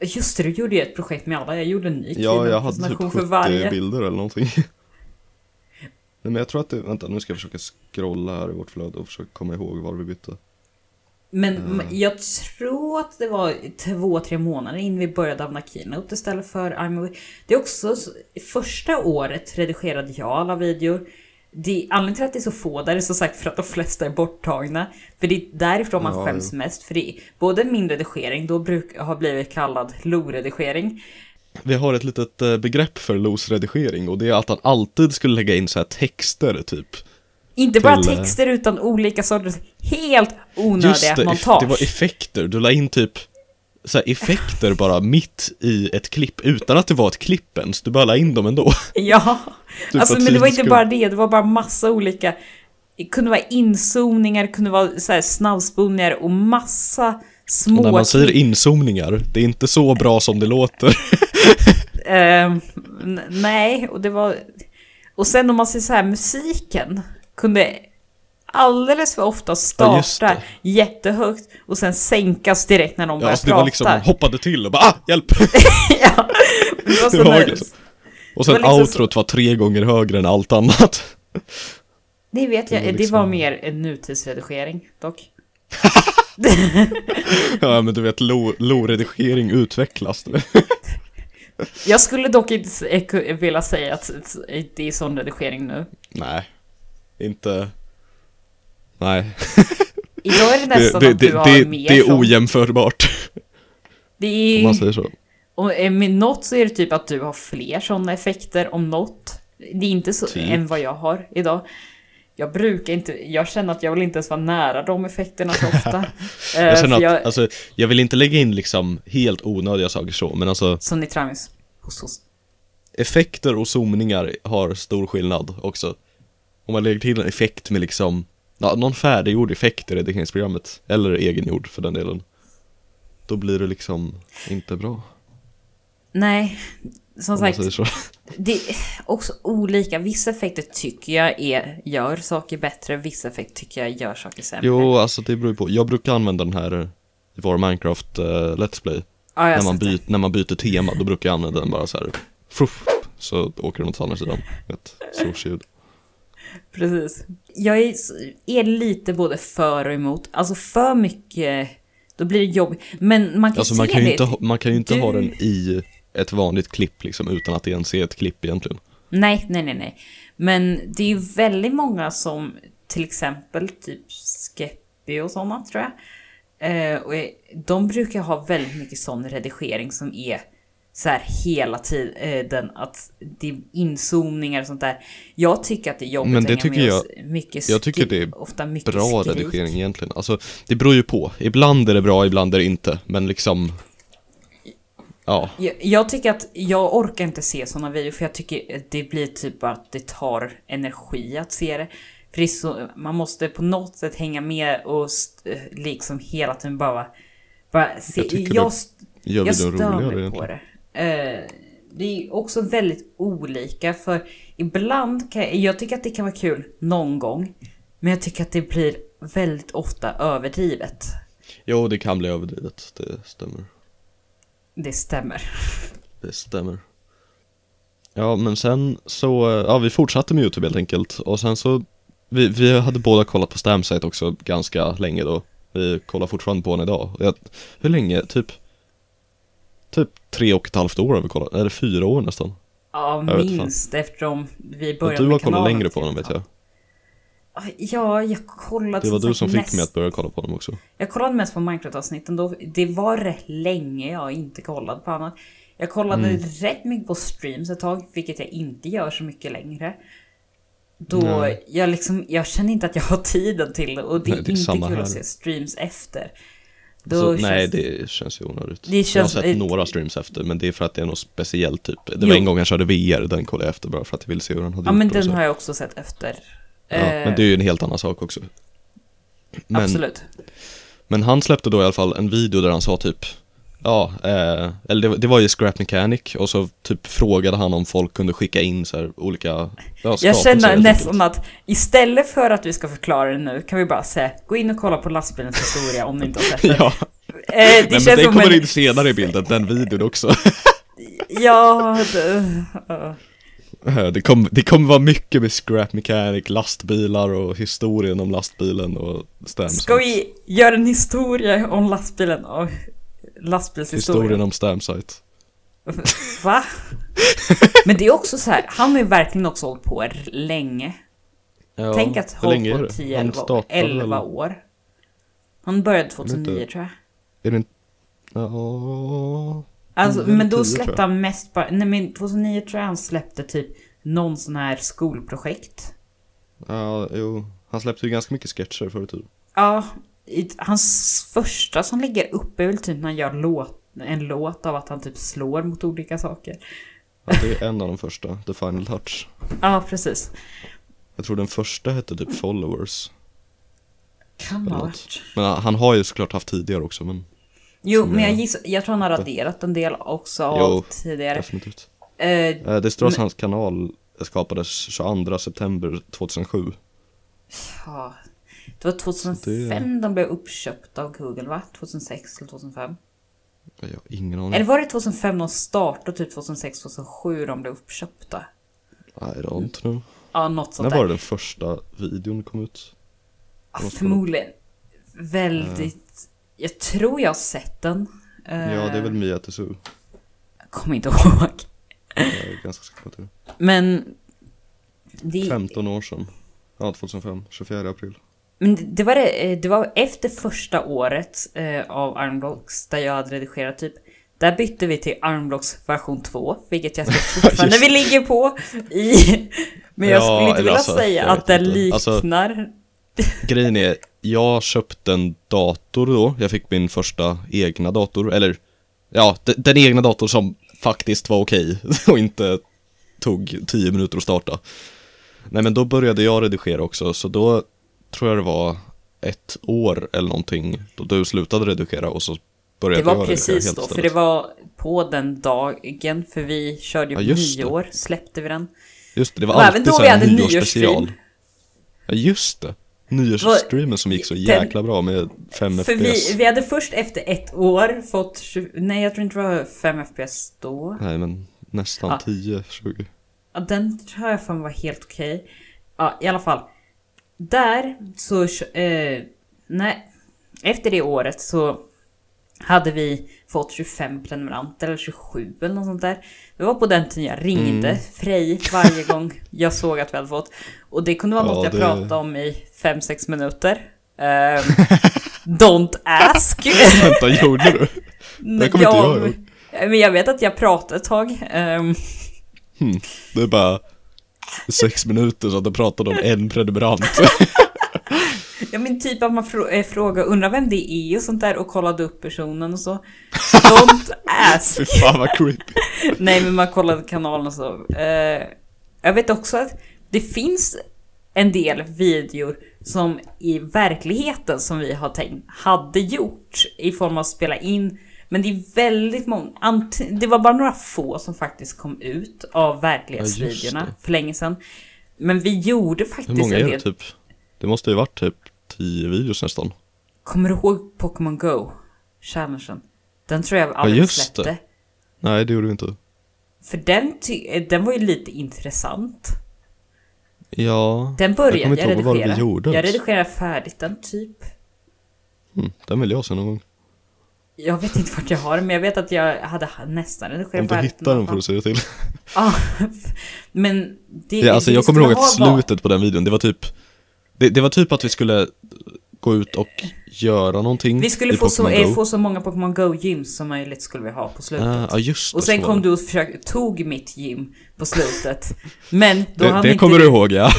[SPEAKER 1] Just det, du gjorde ju ett projekt med alla. Jag gjorde en ny
[SPEAKER 2] Ja, jag hade typ
[SPEAKER 1] keynote-presentation
[SPEAKER 2] 70 bilder eller någonting. (laughs) Nej men jag tror att det, vänta nu ska jag försöka scrolla här i vårt flöde och försöka komma ihåg var vi bytte.
[SPEAKER 1] Men
[SPEAKER 2] Mm.
[SPEAKER 1] m- jag tror att det var två, tre månader innan vi började använda Keynote istället för iMovie. Det är också s- första året redigerade jag alla videor. Det, anledningen till att det är så få där är som sagt för att de flesta är borttagna. För det är därifrån man
[SPEAKER 2] Ja,
[SPEAKER 1] skäms mest. För det är både min redigering, då bruk, har blivit kallad LO-redigering.
[SPEAKER 2] Vi har ett litet eh, begrepp för los redigering och det är att han alltid skulle lägga in så här texter typ.
[SPEAKER 1] Inte bara
[SPEAKER 2] Till, eh,
[SPEAKER 1] texter utan olika sorters helt onödiga
[SPEAKER 2] Just det, eff-
[SPEAKER 1] montage.
[SPEAKER 2] det var effekter, du la in typ så här effekter bara mitt i ett klipp utan att det var ett klipp ens, du bara la in
[SPEAKER 1] (laughs)
[SPEAKER 2] dem ändå.
[SPEAKER 1] Ja,
[SPEAKER 2] Typ
[SPEAKER 1] alltså,
[SPEAKER 2] att
[SPEAKER 1] men det
[SPEAKER 2] tiden
[SPEAKER 1] var inte
[SPEAKER 2] skulle-
[SPEAKER 1] bara det, det var bara massa olika. Det kunde vara inzoomningar, det kunde vara så här snabbspolningar och massa små...
[SPEAKER 2] Och när man säger inzoomningar, det är inte så bra som det låter.
[SPEAKER 1] Ehm, n- nej, och det var... Och sen om man säger så här, musiken kunde alldeles för ofta
[SPEAKER 2] Ja, just
[SPEAKER 1] starta
[SPEAKER 2] det.
[SPEAKER 1] jättehögt och sen sänkas direkt när någon
[SPEAKER 2] Ja,
[SPEAKER 1] börjar
[SPEAKER 2] alltså det
[SPEAKER 1] prata.
[SPEAKER 2] var liksom, man hoppade till och bara ah, hjälp!
[SPEAKER 1] (laughs) ja, det var
[SPEAKER 2] Det var
[SPEAKER 1] sådana-
[SPEAKER 2] liksom- Och sen
[SPEAKER 1] Det var liksom så-
[SPEAKER 2] outrot var tre gånger högre än allt annat. (laughs)
[SPEAKER 1] Det vet jag,
[SPEAKER 2] Det
[SPEAKER 1] det
[SPEAKER 2] var
[SPEAKER 1] var
[SPEAKER 2] liksom-
[SPEAKER 1] mer en nutidsredigering dock.
[SPEAKER 2] Ja men du vet, lo- lo-redigering utvecklas (laughs) nu.
[SPEAKER 1] Jag skulle dock inte s- eh, ku- vilja säga att s- s- det är sån redigering nu.
[SPEAKER 2] Nej, inte... Nej,
[SPEAKER 1] Idag är det
[SPEAKER 2] det,
[SPEAKER 1] nästan
[SPEAKER 2] det,
[SPEAKER 1] att du
[SPEAKER 2] det,
[SPEAKER 1] har
[SPEAKER 2] det,
[SPEAKER 1] mer Mm.
[SPEAKER 2] det är
[SPEAKER 1] sånt.
[SPEAKER 2] ojämförbart, (laughs)
[SPEAKER 1] Det
[SPEAKER 2] om man
[SPEAKER 1] är,
[SPEAKER 2] säger så.
[SPEAKER 1] och, eh, med något så är det typ att du har fler sådana effekter om något. Det är inte så
[SPEAKER 2] Typ.
[SPEAKER 1] än vad jag har idag. Jag brukar inte, jag känner att jag vill inte ens vara nära de effekterna så
[SPEAKER 2] (laughs)
[SPEAKER 1] ofta. Eh,
[SPEAKER 2] Jag känner
[SPEAKER 1] för
[SPEAKER 2] att,
[SPEAKER 1] jag,
[SPEAKER 2] alltså, jag vill inte lägga in liksom helt onödiga saker så, men alltså
[SPEAKER 1] Som ni trams hos oss.
[SPEAKER 2] effekter och zoomningar har stor skillnad också. Om man lägger till en effekt med liksom, ja, någon färdiggjord effekt i redigeringsprogrammet, eller egengjord för den delen. Då blir det liksom inte bra,
[SPEAKER 1] Nej, som
[SPEAKER 2] om man
[SPEAKER 1] sagt,
[SPEAKER 2] säger så. (laughs)
[SPEAKER 1] Det är också olika. Vissa effekter tycker jag är, gör saker bättre, vissa effekter tycker jag gör saker sämre.
[SPEAKER 2] Jo, alltså det beror ju på. Jag brukar använda den här i vår Minecraft eh, Let's Play.
[SPEAKER 1] ja, jag
[SPEAKER 2] När man,
[SPEAKER 1] sätter.
[SPEAKER 2] byt, när man byter tema, då brukar jag använda den bara så här. Fruff, så åker den åt andra sidan. Ett solsljud.
[SPEAKER 1] Precis. Jag är, är lite både för och emot. Alltså för mycket, då blir det jobbigt. Men man kan
[SPEAKER 2] Alltså
[SPEAKER 1] se
[SPEAKER 2] man kan ju
[SPEAKER 1] det.
[SPEAKER 2] inte, ha- man kan ju inte
[SPEAKER 1] Du-
[SPEAKER 2] ha den i ett vanligt klipp liksom utan att det ens är ett klipp egentligen.
[SPEAKER 1] Nej, nej, nej, nej. Men det är ju väldigt många som till exempel typ Skeppy och sådana tror jag. Eh, och eh, de brukar ha väldigt mycket sån redigering som är så här hela tiden att det är inzoomningar och sånt där. Jag tycker att det är jobbigt
[SPEAKER 2] Men det
[SPEAKER 1] att hänga
[SPEAKER 2] tycker
[SPEAKER 1] med
[SPEAKER 2] jag-
[SPEAKER 1] oss. mycket
[SPEAKER 2] jag tycker
[SPEAKER 1] skri-
[SPEAKER 2] det är
[SPEAKER 1] ofta mycket
[SPEAKER 2] Bra
[SPEAKER 1] skrik.
[SPEAKER 2] redigering egentligen. Alltså det beror ju på. Ibland är det bra, ibland är det inte. Men liksom, ja.
[SPEAKER 1] Jag, jag tycker att jag orkar inte se såna videor för jag tycker att det blir typ bara att det tar energi att se det. För det är så, man måste på något sätt hänga med och st- eh, liksom hela tiden bara, bara se.
[SPEAKER 2] Jag
[SPEAKER 1] Jag,
[SPEAKER 2] tycker
[SPEAKER 1] jag, st-
[SPEAKER 2] Gör
[SPEAKER 1] jag
[SPEAKER 2] videon
[SPEAKER 1] stör
[SPEAKER 2] roligare
[SPEAKER 1] mig på
[SPEAKER 2] egentligen.
[SPEAKER 1] det. Eh, det är också väldigt olika för ibland kan jag, jag tycker att det kan vara kul någon gång. Men jag tycker att det blir väldigt ofta överdrivet.
[SPEAKER 2] Jo, det kan bli överdrivet. Det stämmer.
[SPEAKER 1] Det stämmer.
[SPEAKER 2] Det stämmer. Ja, men sen så, eh, ja vi fortsatte med YouTube helt enkelt och sen så Vi, vi hade båda kollat på Stamsite också ganska länge då Vi kollar fortfarande på den idag Och jag, Hur länge? Typ Typ tre och ett halvt år har vi kollat, eller fyra år nästan
[SPEAKER 1] Ja,
[SPEAKER 2] Jag vet fan.
[SPEAKER 1] minst eftersom vi
[SPEAKER 2] Och
[SPEAKER 1] började
[SPEAKER 2] du har
[SPEAKER 1] med
[SPEAKER 2] kollat
[SPEAKER 1] kanalen
[SPEAKER 2] längre på
[SPEAKER 1] typ.
[SPEAKER 2] den vet jag
[SPEAKER 1] Ja, jag kollade
[SPEAKER 2] Det var du
[SPEAKER 1] sagt
[SPEAKER 2] som fick
[SPEAKER 1] näst-
[SPEAKER 2] mig att börja kolla på dem också
[SPEAKER 1] Jag kollade mest på Minecraft-avsnitten då. Det var rätt länge jag inte kollade på annat. Jag kollade
[SPEAKER 2] Mm.
[SPEAKER 1] rätt mycket på streams ett tag, vilket jag inte gör så mycket längre. Då
[SPEAKER 2] Nej.
[SPEAKER 1] jag liksom, jag känner inte att jag har tiden till det och det är,
[SPEAKER 2] Nej, det är
[SPEAKER 1] inte
[SPEAKER 2] samma
[SPEAKER 1] kul
[SPEAKER 2] här.
[SPEAKER 1] att se streams efter. Då
[SPEAKER 2] så,
[SPEAKER 1] känns
[SPEAKER 2] Nej det känns ju onödigt
[SPEAKER 1] Det
[SPEAKER 2] Jag har
[SPEAKER 1] känns-
[SPEAKER 2] sett
[SPEAKER 1] eh,
[SPEAKER 2] några streams efter men det är för att det är något speciellt typ Det
[SPEAKER 1] Jo.
[SPEAKER 2] var en gång jag körde VR, den kollade jag efter bara för att jag ville se hur den hade
[SPEAKER 1] Ja,
[SPEAKER 2] gjort
[SPEAKER 1] men
[SPEAKER 2] och så.
[SPEAKER 1] den har jag också sett efter.
[SPEAKER 2] Ja,
[SPEAKER 1] Eh,
[SPEAKER 2] men det är ju en helt annan sak också. Men,
[SPEAKER 1] Absolut.
[SPEAKER 2] men han släppte då i alla fall en video där han sa typ Ja, eh, eller det, var- det var ju Scrap Mechanic och så typ frågade han om folk kunde skicka in så här olika ja,
[SPEAKER 1] Jag
[SPEAKER 2] skapelser, helt
[SPEAKER 1] känner
[SPEAKER 2] enkelt.
[SPEAKER 1] nästan att istället för att vi ska förklara det nu kan vi bara säga gå in och kolla på lastbilens historia om ni inte har sett den.
[SPEAKER 2] typ. (laughs) Ja,
[SPEAKER 1] Eh, det
[SPEAKER 2] Nej,
[SPEAKER 1] känns
[SPEAKER 2] men det
[SPEAKER 1] som
[SPEAKER 2] kommer
[SPEAKER 1] en-
[SPEAKER 2] in senare i bilden, den videon också.
[SPEAKER 1] Ja, det, ja.
[SPEAKER 2] Eh, Det kommer det kommer vara mycket med Scrap Mechanic, lastbilar och historien om lastbilen och Stamson.
[SPEAKER 1] Ska vi göra en historia om lastbilen och
[SPEAKER 2] Historien
[SPEAKER 1] lastbilshistorien?
[SPEAKER 2] om Stamsite. (laughs)
[SPEAKER 1] Va? Men det är också så här, han har ju verkligen också hållit på r- länge.
[SPEAKER 2] Ja,
[SPEAKER 1] Tänk att
[SPEAKER 2] hur
[SPEAKER 1] hålla
[SPEAKER 2] länge är
[SPEAKER 1] på
[SPEAKER 2] det?
[SPEAKER 1] 10,
[SPEAKER 2] Han
[SPEAKER 1] 11,
[SPEAKER 2] startade väl-
[SPEAKER 1] 11 år. Han började
[SPEAKER 2] vet inte.
[SPEAKER 1] 2009 tror jag.
[SPEAKER 2] Är det inte... Ja...
[SPEAKER 1] Alltså,
[SPEAKER 2] Mm,
[SPEAKER 1] men då
[SPEAKER 2] 10, tror jag.
[SPEAKER 1] släppte han mest bara, nej men 2009 tror jag han släppte typ någon sån här skolprojekt.
[SPEAKER 2] Ja, jo. Han släppte ju ganska mycket sketcher förr i tiden.
[SPEAKER 1] Ja, i- hans första som ligger uppe är väl typ när han gör låt, en låt av att han typ slår mot olika saker.
[SPEAKER 2] Ja, det är en av de första, The Final Touch.
[SPEAKER 1] Ja, precis.
[SPEAKER 2] Jag tror den första hette typ Followers.
[SPEAKER 1] Kan ha
[SPEAKER 2] Eller
[SPEAKER 1] varit.
[SPEAKER 2] Men han han har ju såklart haft tidigare också, men
[SPEAKER 1] Jo,
[SPEAKER 2] Som
[SPEAKER 1] men jag
[SPEAKER 2] jag-
[SPEAKER 1] gissar, jag tror han har raderat en del också
[SPEAKER 2] Jo.
[SPEAKER 1] av tidigare.
[SPEAKER 2] definitivt.
[SPEAKER 1] Eh,
[SPEAKER 2] Eh, Det står att hans kanal skapades 22 september 2007.
[SPEAKER 1] ja. Det var 2005 de blev uppköpta av Google, va? 2006 eller 2005?
[SPEAKER 2] Jag har ingen
[SPEAKER 1] Eller
[SPEAKER 2] aning.
[SPEAKER 1] var det 2005 de startade och typ 2006, 2007 de blev uppköpta?
[SPEAKER 2] I don't know.
[SPEAKER 1] Ja, något
[SPEAKER 2] När
[SPEAKER 1] sånt
[SPEAKER 2] var
[SPEAKER 1] där.
[SPEAKER 2] det den första videon kom ut?
[SPEAKER 1] Ja,
[SPEAKER 2] måste kolla.
[SPEAKER 1] Förmodligen väldigt... Jag tror jag har sett den. Eh,
[SPEAKER 2] Ja, det är väl Mia Tessou.
[SPEAKER 1] Kommer inte ihåg.
[SPEAKER 2] Jag är ganska säker på att det är
[SPEAKER 1] Men... Det,
[SPEAKER 2] det. 15 år sedan. Ja, 2005. 24 april.
[SPEAKER 1] Men det- det var, det, eh, det var efter första året eh, av Armblocks där jag hade redigerat typ. Där bytte vi till Armblocks version 2, vilket jag
[SPEAKER 2] (laughs)
[SPEAKER 1] tror fortfarande
[SPEAKER 2] Just.
[SPEAKER 1] vi ligger på i. Men jag
[SPEAKER 2] Ja,
[SPEAKER 1] skulle inte
[SPEAKER 2] eller
[SPEAKER 1] vilja
[SPEAKER 2] alltså,
[SPEAKER 1] säga
[SPEAKER 2] jag
[SPEAKER 1] att
[SPEAKER 2] vet
[SPEAKER 1] den
[SPEAKER 2] inte. Alltså-
[SPEAKER 1] liknar.
[SPEAKER 2] Grejen är, jag köpte en dator då, jag fick min första egna dator, eller ja, d- den egna dator som faktiskt var okej (laughs) och inte tog 10 minuter att starta. Nej men då började jag redigera också, så då tror jag det var ett år eller någonting då du slutade redigera och så började
[SPEAKER 1] det
[SPEAKER 2] jag
[SPEAKER 1] var
[SPEAKER 2] redigera
[SPEAKER 1] precis
[SPEAKER 2] helt
[SPEAKER 1] då, för
[SPEAKER 2] istället.
[SPEAKER 1] det var på den dagen, för vi körde ju på
[SPEAKER 2] Ja, just det.
[SPEAKER 1] nyår, släppte vi den.
[SPEAKER 2] Just det, det var
[SPEAKER 1] Och även
[SPEAKER 2] alltid
[SPEAKER 1] då
[SPEAKER 2] så
[SPEAKER 1] vi
[SPEAKER 2] här
[SPEAKER 1] hade
[SPEAKER 2] nyårsspecial.
[SPEAKER 1] nyårsstream.
[SPEAKER 2] Ja just det, nyårsstreamen som gick så
[SPEAKER 1] Den-
[SPEAKER 2] jäkla bra med 5
[SPEAKER 1] För vi,
[SPEAKER 2] FPS.
[SPEAKER 1] vi hade först efter ett år fått, 20, nej jag tror inte det var 5 FPS då.
[SPEAKER 2] Nej men nästan
[SPEAKER 1] Ja.
[SPEAKER 2] 10, 20.
[SPEAKER 1] Ja, den tror jag fan var helt okej. Ja, i alla fall. Där så... Eh, nej. Efter det året så hade vi fått 25 prenumeranter eller 27 eller något sånt där. Det var på den tiden jag ringde
[SPEAKER 2] Mm.
[SPEAKER 1] Frej varje gång jag såg att vi hade fått. Och det kunde vara
[SPEAKER 2] Ja,
[SPEAKER 1] något jag
[SPEAKER 2] det-
[SPEAKER 1] pratade om i 5-6 minuter. Ehm, don't
[SPEAKER 2] (laughs)
[SPEAKER 1] ask.
[SPEAKER 2] Vänta, gjorde du? Det kommer inte jag ihåg.
[SPEAKER 1] Men jag vet att jag pratade ett tag. Ehm,
[SPEAKER 2] Det är bara sex minuter så att du pratade om
[SPEAKER 1] (laughs)
[SPEAKER 2] en prenumerant.
[SPEAKER 1] Ja men typ att man frå- eh, frågar, undrar vem det är och sånt där och kollade upp personen och så. Don't ask!
[SPEAKER 2] Fy fan vad creepy.
[SPEAKER 1] Nej men man kollade kanalen och så. Eh, jag vet också att det finns en del videor som i verkligheten som vi har tänkt hade gjort i form av att spela in. Men det är väldigt många, ant- det var bara några få som faktiskt kom ut av verklighetsvideorna
[SPEAKER 2] det.
[SPEAKER 1] för länge sedan. Men vi gjorde faktiskt
[SPEAKER 2] Hur många
[SPEAKER 1] en
[SPEAKER 2] är
[SPEAKER 1] del.
[SPEAKER 2] det typ? Det måste ju varit typ tio videos nästan.
[SPEAKER 1] Kommer du ihåg Pokémon Go? Challengen. Den tror jag aldrig
[SPEAKER 2] just
[SPEAKER 1] släppte.
[SPEAKER 2] det. Nej, det gjorde vi inte.
[SPEAKER 1] För den, ty- eh, den var ju lite intressant.
[SPEAKER 2] Ja,
[SPEAKER 1] Den började
[SPEAKER 2] kommer
[SPEAKER 1] jag,
[SPEAKER 2] inte ihåg vad det vi
[SPEAKER 1] redigera.
[SPEAKER 2] gjorde
[SPEAKER 1] jag
[SPEAKER 2] ens.
[SPEAKER 1] redigerade färdigt den typ.
[SPEAKER 2] hmm, den vill jag se någon gång.
[SPEAKER 1] Jag vet inte vart jag har den, men jag vet att jag hade nästan
[SPEAKER 2] Om
[SPEAKER 1] redigerat
[SPEAKER 2] du
[SPEAKER 1] färdigt
[SPEAKER 2] hittar den får du se det till.
[SPEAKER 1] Ja, (laughs) men det...
[SPEAKER 2] Ja, alltså
[SPEAKER 1] det
[SPEAKER 2] jag
[SPEAKER 1] vi
[SPEAKER 2] kommer
[SPEAKER 1] skulle
[SPEAKER 2] ihåg att
[SPEAKER 1] ha var-
[SPEAKER 2] slutet på den videon, det var typ det, det var typ att vi skulle gå ut och göra någonting
[SPEAKER 1] Vi skulle
[SPEAKER 2] i
[SPEAKER 1] få så,
[SPEAKER 2] Pokémon
[SPEAKER 1] eh,
[SPEAKER 2] Go.
[SPEAKER 1] få så många Pokémon Go-gym som möjligt skulle vi ha på slutet.
[SPEAKER 2] Ah, ja, just det.
[SPEAKER 1] och sen
[SPEAKER 2] så var
[SPEAKER 1] kom
[SPEAKER 2] det.
[SPEAKER 1] du och försökte, tog mitt gym på slutet. Men då
[SPEAKER 2] Det,
[SPEAKER 1] hann
[SPEAKER 2] det
[SPEAKER 1] inte
[SPEAKER 2] kommer du ihåg ja.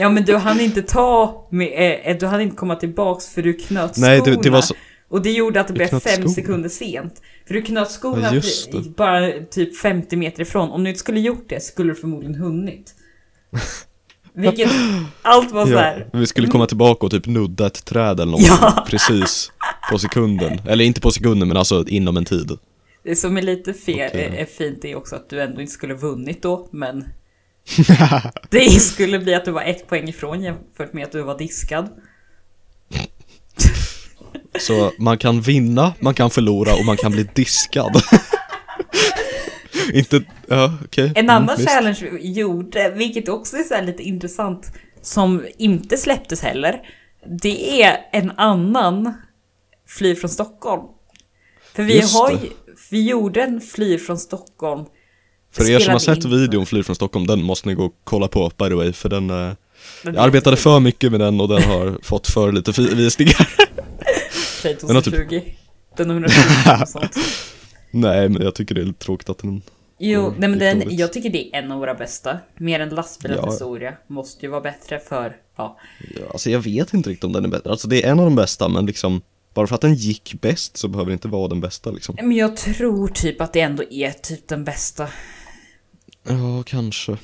[SPEAKER 1] Ja men du hann inte ta med, eh, du hann inte komma tillbaks för du knöt skorna.
[SPEAKER 2] Nej, det, det var så,
[SPEAKER 1] Och det gjorde att det
[SPEAKER 2] Du
[SPEAKER 1] blev
[SPEAKER 2] knöt
[SPEAKER 1] fem
[SPEAKER 2] skorna.
[SPEAKER 1] sekunder sent. För du knöt skorna
[SPEAKER 2] Ja, just
[SPEAKER 1] pri-
[SPEAKER 2] det.
[SPEAKER 1] bara typ 50 meter ifrån. Om du inte skulle gjort det skulle du förmodligen
[SPEAKER 2] (laughs)
[SPEAKER 1] hunnit. Vilket, allt var
[SPEAKER 2] Ja,
[SPEAKER 1] såhär.
[SPEAKER 2] vi skulle komma tillbaka och typ nudda ett träd eller något
[SPEAKER 1] Ja.
[SPEAKER 2] precis på sekunden. Eller inte på sekunden, men alltså inom en tid.
[SPEAKER 1] Det som är lite fel,
[SPEAKER 2] Okej.
[SPEAKER 1] är, är fint är också att du ändå inte skulle vunnit då, men
[SPEAKER 2] (laughs)
[SPEAKER 1] det skulle bli att du var ett poäng ifrån jämfört med att du var diskad.
[SPEAKER 2] Så man kan vinna, man kan förlora och man kan bli diskad. (laughs) inte, ja okej.
[SPEAKER 1] En
[SPEAKER 2] Mm,
[SPEAKER 1] annan
[SPEAKER 2] visst.
[SPEAKER 1] challenge vi gjorde, vilket också är så här lite intressant, som inte släpptes heller, det är en annan Fly från Stockholm. För vi
[SPEAKER 2] Just
[SPEAKER 1] har
[SPEAKER 2] det.
[SPEAKER 1] ju, vi gjorde en Fly från Stockholm.
[SPEAKER 2] För er som har
[SPEAKER 1] spelade
[SPEAKER 2] sett
[SPEAKER 1] in.
[SPEAKER 2] videon Fly från Stockholm, den måste ni gå och kolla på by the way, för den, eh, jag arbetade för mycket med den och den har fått för lite fi- visningar.
[SPEAKER 1] Den
[SPEAKER 2] den
[SPEAKER 1] har
[SPEAKER 2] har
[SPEAKER 1] typ...
[SPEAKER 2] typ-
[SPEAKER 1] 20. Den har 120
[SPEAKER 2] (laughs)
[SPEAKER 1] och sånt.
[SPEAKER 2] (laughs) Nej, men jag tycker det är lite tråkigt att den,
[SPEAKER 1] Jo,
[SPEAKER 2] Mm,
[SPEAKER 1] nej, men
[SPEAKER 2] lite
[SPEAKER 1] den,
[SPEAKER 2] dåligt.
[SPEAKER 1] jag tycker det är en av våra bästa. Mer än lastbilens
[SPEAKER 2] Ja.
[SPEAKER 1] historia. Måste ju vara bättre för, ja.
[SPEAKER 2] Ja, alltså jag vet inte riktigt om den är bättre, alltså det är en av de bästa men liksom, bara för att den gick bäst så behöver det inte vara den bästa liksom.
[SPEAKER 1] Men jag tror typ att det ändå är typ den bästa.
[SPEAKER 2] Ja, kanske.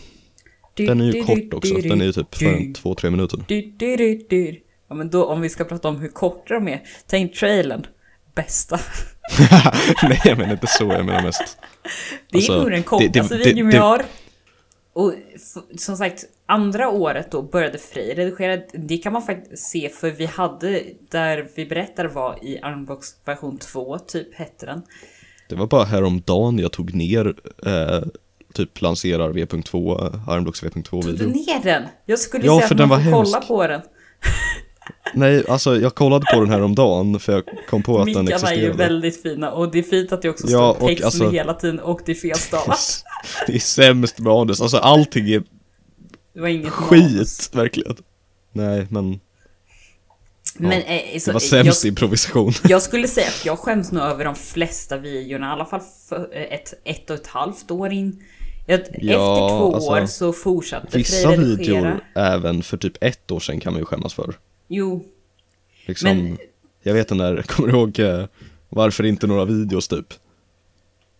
[SPEAKER 2] Den är ju kort också, den är ju typ för en två, tre minuter.
[SPEAKER 1] Du, du, du, du. Ja men då om vi ska prata om hur korta de är. Tänk trailern. Bästa.
[SPEAKER 2] (laughs)
[SPEAKER 1] (laughs)
[SPEAKER 2] Nej, jag menar inte så, jag menar mest.
[SPEAKER 1] Det är
[SPEAKER 2] Alltså,
[SPEAKER 1] nog den kortaste
[SPEAKER 2] det- det- det-
[SPEAKER 1] videon vi
[SPEAKER 2] det-
[SPEAKER 1] har. Och f- som sagt, andra året då började Frej redigera. Det kan man faktiskt se för vi hade, där vi berättar var i Armbox version 2, typ hette den.
[SPEAKER 2] Det var bara häromdagen jag tog ner, eh, typ lanserar V.2, eh, Armblocks
[SPEAKER 1] Tog du
[SPEAKER 2] V.2-video.
[SPEAKER 1] ner den? Jag skulle
[SPEAKER 2] Ja,
[SPEAKER 1] säga
[SPEAKER 2] för
[SPEAKER 1] att
[SPEAKER 2] den
[SPEAKER 1] man
[SPEAKER 2] var
[SPEAKER 1] får
[SPEAKER 2] hemsk.
[SPEAKER 1] kolla på den.
[SPEAKER 2] Nej, alltså jag kollade på den häromdagen för jag kom på att den
[SPEAKER 1] Mickarna är ju
[SPEAKER 2] existerade.
[SPEAKER 1] väldigt fina och det är fint att det också
[SPEAKER 2] Ja,
[SPEAKER 1] står
[SPEAKER 2] och
[SPEAKER 1] texten
[SPEAKER 2] alltså-
[SPEAKER 1] hela tiden och det är felstavat.
[SPEAKER 2] Det är sämst manus, alltså allting är
[SPEAKER 1] Det var inget manus.
[SPEAKER 2] skit, verkligen. Nej, men
[SPEAKER 1] Men, eh, så,
[SPEAKER 2] det var
[SPEAKER 1] eh, jag,
[SPEAKER 2] sämst improvisation.
[SPEAKER 1] Jag skulle säga att jag skäms nog över de flesta videorna, i alla fall för eh, ett, ett och ett halvt år in. Ett,
[SPEAKER 2] Ja,
[SPEAKER 1] efter två
[SPEAKER 2] alltså,
[SPEAKER 1] år så fortsatte
[SPEAKER 2] Vissa
[SPEAKER 1] Frej redigera.
[SPEAKER 2] videor även för typ ett år sedan kan man ju skämmas för.
[SPEAKER 1] Jo,
[SPEAKER 2] Liksom,
[SPEAKER 1] Men-
[SPEAKER 2] jag vet den där, (laughs) kommer du ihåg eh, varför inte några videos typ?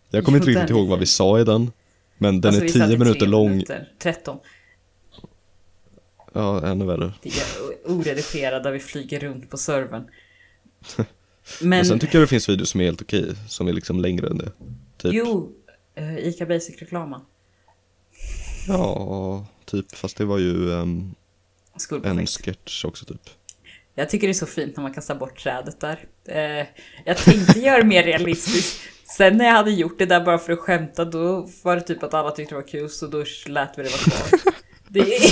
[SPEAKER 2] Jag kommer
[SPEAKER 1] Jo,
[SPEAKER 2] inte riktigt
[SPEAKER 1] den är
[SPEAKER 2] ihåg vad vi sa i den, men den
[SPEAKER 1] alltså, vi
[SPEAKER 2] är
[SPEAKER 1] satt i
[SPEAKER 2] 10
[SPEAKER 1] tre
[SPEAKER 2] minuter lång,
[SPEAKER 1] minuter, 13.
[SPEAKER 2] ja ännu värre.
[SPEAKER 1] Det är o- oredigerad där vi flyger runt på servern.
[SPEAKER 2] (laughs) Men...
[SPEAKER 1] Men,
[SPEAKER 2] sen tycker jag det finns videos som är helt okej, som är liksom längre än det. Typ,
[SPEAKER 1] jo, eh, ICA Basic-reklamen.
[SPEAKER 2] ja, typ, fast det var ju ehm, en
[SPEAKER 1] Skolprojekt.
[SPEAKER 2] sketch också typ.
[SPEAKER 1] Jag tycker det är så fint när man kastar bort trädet där. Eh, jag tänkte göra det mer realistiskt. Sen när jag hade gjort det där bara för att skämta, då var det typ att alla tyckte det var kul, så då lät vi det vara kvar. Det är,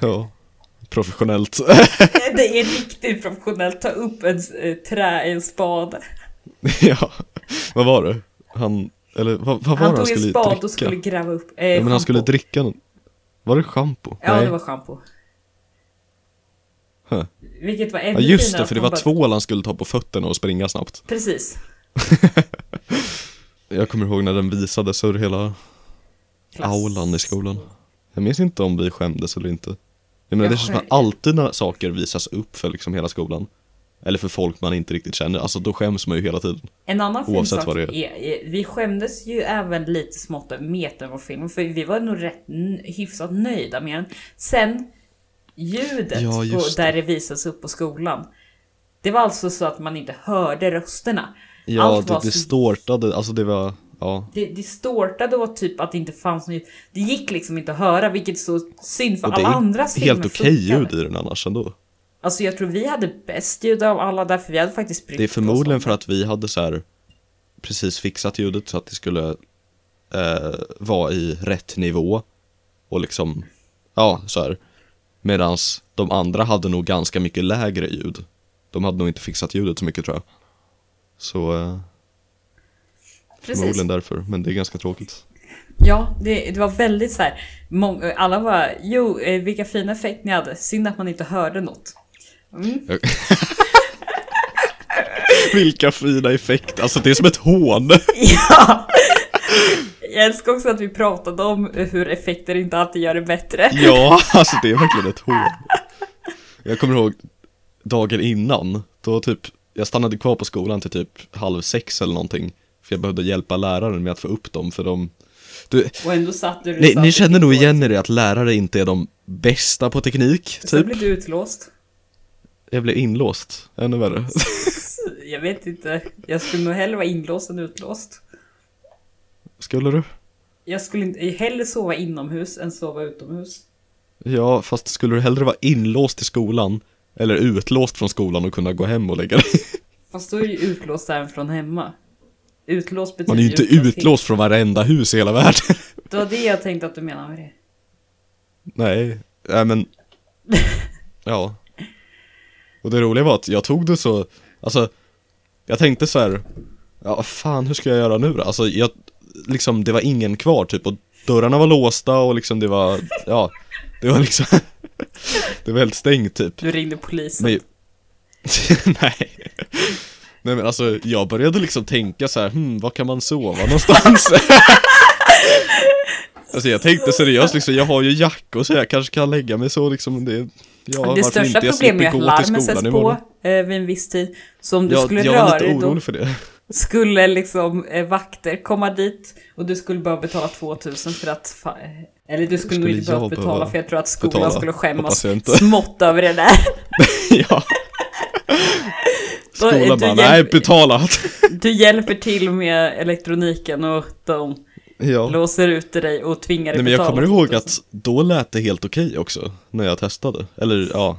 [SPEAKER 2] Ja, professionellt.
[SPEAKER 1] det är riktigt professionellt, ta upp en eh, trä i en spade.
[SPEAKER 2] (laughs) ja, vad var det? Han, eller vad, vad var det
[SPEAKER 1] Han
[SPEAKER 2] han
[SPEAKER 1] tog en
[SPEAKER 2] skulle
[SPEAKER 1] spade
[SPEAKER 2] dricka?
[SPEAKER 1] och skulle gräva upp eh,
[SPEAKER 2] ja, men han skulle
[SPEAKER 1] schampo.
[SPEAKER 2] dricka någon... Var det schampo?
[SPEAKER 1] Ja,
[SPEAKER 2] Nej.
[SPEAKER 1] det var schampo.
[SPEAKER 2] Huh.
[SPEAKER 1] Vilket var ännu
[SPEAKER 2] Ja just
[SPEAKER 1] finare
[SPEAKER 2] det,
[SPEAKER 1] att
[SPEAKER 2] för det
[SPEAKER 1] man
[SPEAKER 2] var
[SPEAKER 1] bara-
[SPEAKER 2] tvål han skulle ta på fötterna och springa snabbt.
[SPEAKER 1] Precis.
[SPEAKER 2] Jag kommer ihåg när den visades över hela
[SPEAKER 1] Klass.
[SPEAKER 2] aulan i skolan. Jag minns inte om vi skämdes eller inte. Jag menar
[SPEAKER 1] Jag
[SPEAKER 2] det känns som att
[SPEAKER 1] skäm-
[SPEAKER 2] alltid när saker visas upp för liksom hela skolan, eller för folk man inte riktigt känner, alltså då skäms man ju hela tiden.
[SPEAKER 1] En annan fin
[SPEAKER 2] Oavsett
[SPEAKER 1] sak
[SPEAKER 2] vad det
[SPEAKER 1] är.
[SPEAKER 2] är.
[SPEAKER 1] är, vi skämdes ju även lite smått över meten på filmen för vi var nog rätt n- hyfsat nöjda med den. Sen ljudet
[SPEAKER 2] Ja,
[SPEAKER 1] på,
[SPEAKER 2] just det.
[SPEAKER 1] där det visas upp på skolan. Det var alltså så att man inte hörde rösterna.
[SPEAKER 2] Ja,
[SPEAKER 1] Allt
[SPEAKER 2] det
[SPEAKER 1] var så-
[SPEAKER 2] distortade, alltså det var, ja.
[SPEAKER 1] det distortade och typ att det inte fanns något ljud. Det gick liksom inte att höra vilket är så synd för
[SPEAKER 2] Och det
[SPEAKER 1] alla andras
[SPEAKER 2] är
[SPEAKER 1] filmer
[SPEAKER 2] helt okej
[SPEAKER 1] funkade.
[SPEAKER 2] ljud i den annars ändå.
[SPEAKER 1] Alltså jag tror vi hade bäst ljud av alla där för vi hade faktiskt brytt
[SPEAKER 2] Det är
[SPEAKER 1] oss
[SPEAKER 2] förmodligen
[SPEAKER 1] om
[SPEAKER 2] för att vi hade så här precis fixat ljudet så att det skulle eh, vara i rätt nivå och liksom, ja så här. Medans de andra hade nog ganska mycket lägre ljud. De hade nog inte fixat ljudet så mycket tror jag. Så eh,
[SPEAKER 1] Precis.
[SPEAKER 2] förmodligen därför, men det är ganska tråkigt. (laughs)
[SPEAKER 1] Ja, det, det var väldigt så här. Mång, alla var jo, eh, vilka fina effekt ni hade. Synd att man inte hörde något. Mm.
[SPEAKER 2] Vilka fina effekter, alltså det är som ett hån!
[SPEAKER 1] Ja! Jag älskar också att vi pratade om hur effekter inte alltid gör det bättre.
[SPEAKER 2] Ja, (laughs) alltså det är verkligen ett hån. Jag kommer ihåg dagen innan, då typ, jag stannade kvar på skolan till typ halv sex eller någonting. För jag behövde hjälpa läraren med att få upp dem, för de... Du,
[SPEAKER 1] Och ändå satt du
[SPEAKER 2] ni,
[SPEAKER 1] satt
[SPEAKER 2] ni
[SPEAKER 1] i
[SPEAKER 2] känner
[SPEAKER 1] ditt
[SPEAKER 2] nog
[SPEAKER 1] hår.
[SPEAKER 2] igen er i att lärare inte är de bästa på teknik,
[SPEAKER 1] Sen
[SPEAKER 2] typ.
[SPEAKER 1] blev du utlåst.
[SPEAKER 2] Jag blev inlåst, ännu värre.
[SPEAKER 1] Jag vet inte. Jag skulle nog hellre vara inlåst än utlåst.
[SPEAKER 2] Skulle du?
[SPEAKER 1] Jag skulle inte, hellre sova inomhus än sova utomhus.
[SPEAKER 2] Ja, fast skulle du hellre vara inlåst i skolan eller utlåst från skolan och kunna gå hem och lägga dig?
[SPEAKER 1] Fast då är ju utlåst även från hemma. Utlåst betyder
[SPEAKER 2] Man är ju inte
[SPEAKER 1] utanför.
[SPEAKER 2] utlåst från varenda hus i hela världen.
[SPEAKER 1] Det var det jag tänkte att du menade med det.
[SPEAKER 2] Nej, nej men... Ja. Och det roliga var att jag tog det så, alltså, jag tänkte så här, ja fan hur ska jag göra nu då? Alltså jag, liksom det var ingen kvar typ och dörrarna var låsta och liksom det var, ja, det var liksom, (laughs) det var helt stängt typ.
[SPEAKER 1] Du ringde polisen.
[SPEAKER 2] Men, (laughs) nej. Nej men alltså jag började liksom tänka så här, hmm, var kan man sova någonstans? (laughs) alltså jag tänkte seriöst liksom, jag har ju jacka så jag kanske kan lägga mig så liksom det, ja, varför
[SPEAKER 1] det största
[SPEAKER 2] inte? Jag
[SPEAKER 1] problemet är
[SPEAKER 2] slipper
[SPEAKER 1] att
[SPEAKER 2] gå till
[SPEAKER 1] larmen sätts
[SPEAKER 2] skolan
[SPEAKER 1] på
[SPEAKER 2] imorgon.
[SPEAKER 1] eh, vid en viss tid. Så om du
[SPEAKER 2] Jag,
[SPEAKER 1] skulle
[SPEAKER 2] jag
[SPEAKER 1] röra
[SPEAKER 2] var lite
[SPEAKER 1] dig då
[SPEAKER 2] orolig för det. (laughs)
[SPEAKER 1] skulle liksom eh, vakter komma dit och du skulle behöva betala 2000 för att... Fa- eh, eller du skulle, nog
[SPEAKER 2] Skulle
[SPEAKER 1] inte behöva
[SPEAKER 2] jag
[SPEAKER 1] betala
[SPEAKER 2] behöva
[SPEAKER 1] för jag tror att skolan
[SPEAKER 2] betala?
[SPEAKER 1] skulle
[SPEAKER 2] Hoppas
[SPEAKER 1] skämmas
[SPEAKER 2] jag inte.
[SPEAKER 1] smått över det där.
[SPEAKER 2] ja.
[SPEAKER 1] Då-
[SPEAKER 2] (laughs)
[SPEAKER 1] eh,
[SPEAKER 2] Skolan
[SPEAKER 1] du
[SPEAKER 2] bara,
[SPEAKER 1] hjälp-
[SPEAKER 2] nej betalat.
[SPEAKER 1] Du hjälper till med elektroniken och de
[SPEAKER 2] (laughs) ja.
[SPEAKER 1] låser ut dig och tvingar dig
[SPEAKER 2] Nej men jag
[SPEAKER 1] betala
[SPEAKER 2] kommer ihåg
[SPEAKER 1] 2000.
[SPEAKER 2] att då lät det helt okej också, när jag testade. Eller ja,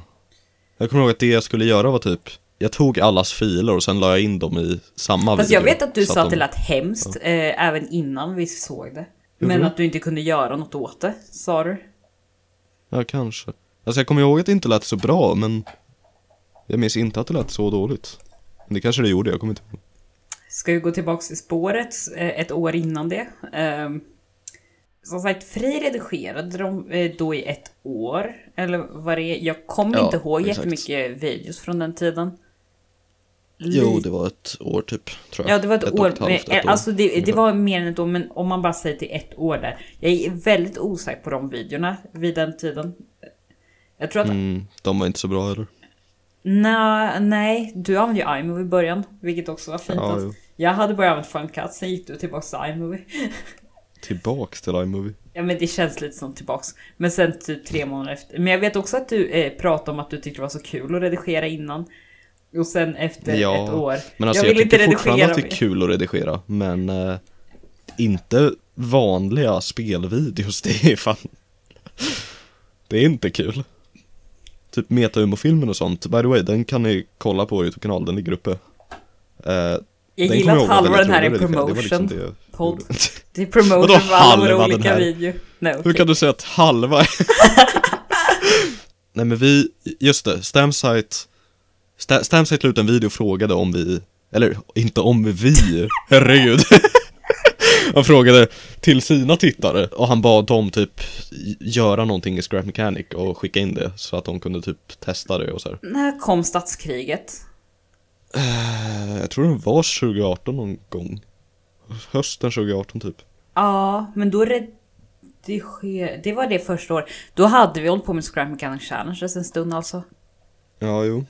[SPEAKER 2] jag kommer ihåg att det jag skulle göra var typ, jag tog allas filer och sen la jag in dem i samma
[SPEAKER 1] Fast jag
[SPEAKER 2] video.
[SPEAKER 1] vet att du
[SPEAKER 2] Så
[SPEAKER 1] sa att det
[SPEAKER 2] de-
[SPEAKER 1] lät hemskt, eh, även innan vi såg det.
[SPEAKER 2] Gjorde
[SPEAKER 1] Men
[SPEAKER 2] du?
[SPEAKER 1] att du inte kunde göra något åt det, sa du.
[SPEAKER 2] Ja, kanske. Alltså jag kommer ihåg att det inte lät så bra, men jag minns inte att det lät så dåligt. Men det kanske det gjorde, jag kommer inte ihåg.
[SPEAKER 1] Ska vi gå tillbaks till spåret eh, ett år innan det. Ehm, Som sagt, Fri redigerade de eh, då i ett år. Eller vad det är. Jag kommer
[SPEAKER 2] Ja,
[SPEAKER 1] inte ihåg
[SPEAKER 2] exakt.
[SPEAKER 1] jättemycket videos från den tiden.
[SPEAKER 2] Jo,
[SPEAKER 1] Lite-
[SPEAKER 2] det var ett år typ, tror jag.
[SPEAKER 1] Ja, det var ett,
[SPEAKER 2] och
[SPEAKER 1] år.
[SPEAKER 2] halvt,
[SPEAKER 1] men,
[SPEAKER 2] ett år.
[SPEAKER 1] Alltså det, det var mer än ett år, men om man bara säger till ett år där. Jag är väldigt osäker på de videorna vid den tiden. Jag tror att...
[SPEAKER 2] Mm, de var inte så bra heller.
[SPEAKER 1] Nej, nej, du använde ju iMovie i början, vilket också var fint.
[SPEAKER 2] Ja,
[SPEAKER 1] alltså.
[SPEAKER 2] jo.
[SPEAKER 1] Jag hade börjat använda FunCut, sen gick du tillbaks till iMovie.
[SPEAKER 2] Tillbaks till iMovie.
[SPEAKER 1] Ja men det känns lite som tillbaks. Men sen typ tre månader efter. Men jag vet också att du eh, pratade om att du tyckte det var så kul att redigera innan. Och sen efter
[SPEAKER 2] Ja,
[SPEAKER 1] ett år.
[SPEAKER 2] Men alltså
[SPEAKER 1] jag
[SPEAKER 2] jag,
[SPEAKER 1] vill inte
[SPEAKER 2] tycker fortfarande
[SPEAKER 1] redigera
[SPEAKER 2] att det är
[SPEAKER 1] mer.
[SPEAKER 2] kul att redigera, men eh, inte vanliga spelvideos, (laughs) det är fan... Det är inte kul. Typ metahumorfilmen och sånt, by the way, den kan ni kolla på Youtube-kanal, den ligger uppe. Eh, den
[SPEAKER 1] Jag
[SPEAKER 2] kommer
[SPEAKER 1] gillar
[SPEAKER 2] ihåg
[SPEAKER 1] att
[SPEAKER 2] var
[SPEAKER 1] halva
[SPEAKER 2] väldigt
[SPEAKER 1] den här
[SPEAKER 2] rolig
[SPEAKER 1] är
[SPEAKER 2] att redigera, det var liksom
[SPEAKER 1] promotion.
[SPEAKER 2] det jag
[SPEAKER 1] Podd.
[SPEAKER 2] gjorde. (laughs)
[SPEAKER 1] Det är promotion
[SPEAKER 2] Vadå
[SPEAKER 1] för alla
[SPEAKER 2] halva
[SPEAKER 1] våra
[SPEAKER 2] den
[SPEAKER 1] olika
[SPEAKER 2] här?
[SPEAKER 1] videor. Nej,
[SPEAKER 2] Hur
[SPEAKER 1] okej.
[SPEAKER 2] kan du säga att halva är- Nej men vi, just det, Stamsite Sta- Stamsite la ut en video och frågade om vi Eller inte om vi, herregud Han frågade till sina tittare och han bad dem typ Göra någonting i Scrap Mechanic och skicka in det så att de kunde typ testa det och så här.
[SPEAKER 1] När kom statskriget?
[SPEAKER 2] Eh, Jag tror det var 2018 någon gång Hösten 2018 typ
[SPEAKER 1] Ja, men då redigerade... Det var det första året. Då hade vi hållit på med Scrap Mechanic Challenges en stund alltså.
[SPEAKER 2] Ja jo,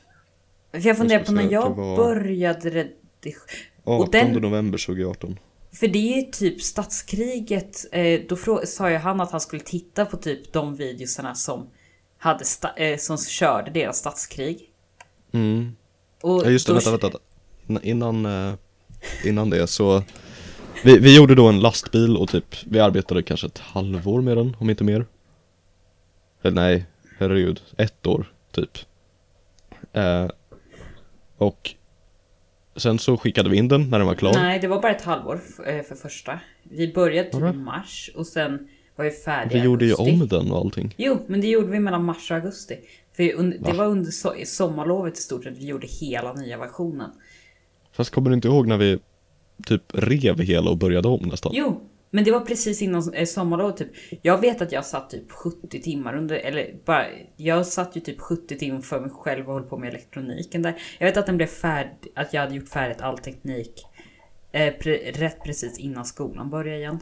[SPEAKER 1] För jag funderar
[SPEAKER 2] Jag
[SPEAKER 1] på
[SPEAKER 2] skulle
[SPEAKER 1] när
[SPEAKER 2] säga att
[SPEAKER 1] jag
[SPEAKER 2] det var-
[SPEAKER 1] började redigera.
[SPEAKER 2] 18
[SPEAKER 1] Och den-
[SPEAKER 2] november 2018
[SPEAKER 1] För det är ju typ statskriget. Eh, då frå- sa ju han att han skulle titta på typ de videosarna som, hade sta- eh, som körde deras statskrig.
[SPEAKER 2] Mm
[SPEAKER 1] Och
[SPEAKER 2] Ja just det,
[SPEAKER 1] då-
[SPEAKER 2] vänta, vänta. vänta. Innan- Innan, eh, innan det så vi, vi gjorde då en lastbil och typ Vi arbetade kanske ett halvår med den, om inte mer Eller nej, herregud, ett år typ eh, Och Sen så skickade vi in den när den var klar
[SPEAKER 1] Nej, det var bara ett halvår f- eh, för första. Vi började typ i
[SPEAKER 2] Alright.
[SPEAKER 1] mars och sen var vi färdiga
[SPEAKER 2] Vi gjorde ju
[SPEAKER 1] augusti.
[SPEAKER 2] om den och allting
[SPEAKER 1] Jo, men det gjorde vi mellan mars och augusti. För un- det var under so- sommarlovet i stort sett vi gjorde hela nya versionen.
[SPEAKER 2] Fast kommer du inte ihåg när vi typ rev hela och började om nästan?
[SPEAKER 1] Jo, men det var precis innan eh, sommarlovet typ. Jag vet att jag satt typ 70 timmar under, eller bara, jag satt ju typ 70 timmar för mig själv och höll på med elektroniken där. Jag vet att den blev färdig, att jag hade gjort färdigt all teknik eh, pre- rätt precis innan skolan började igen.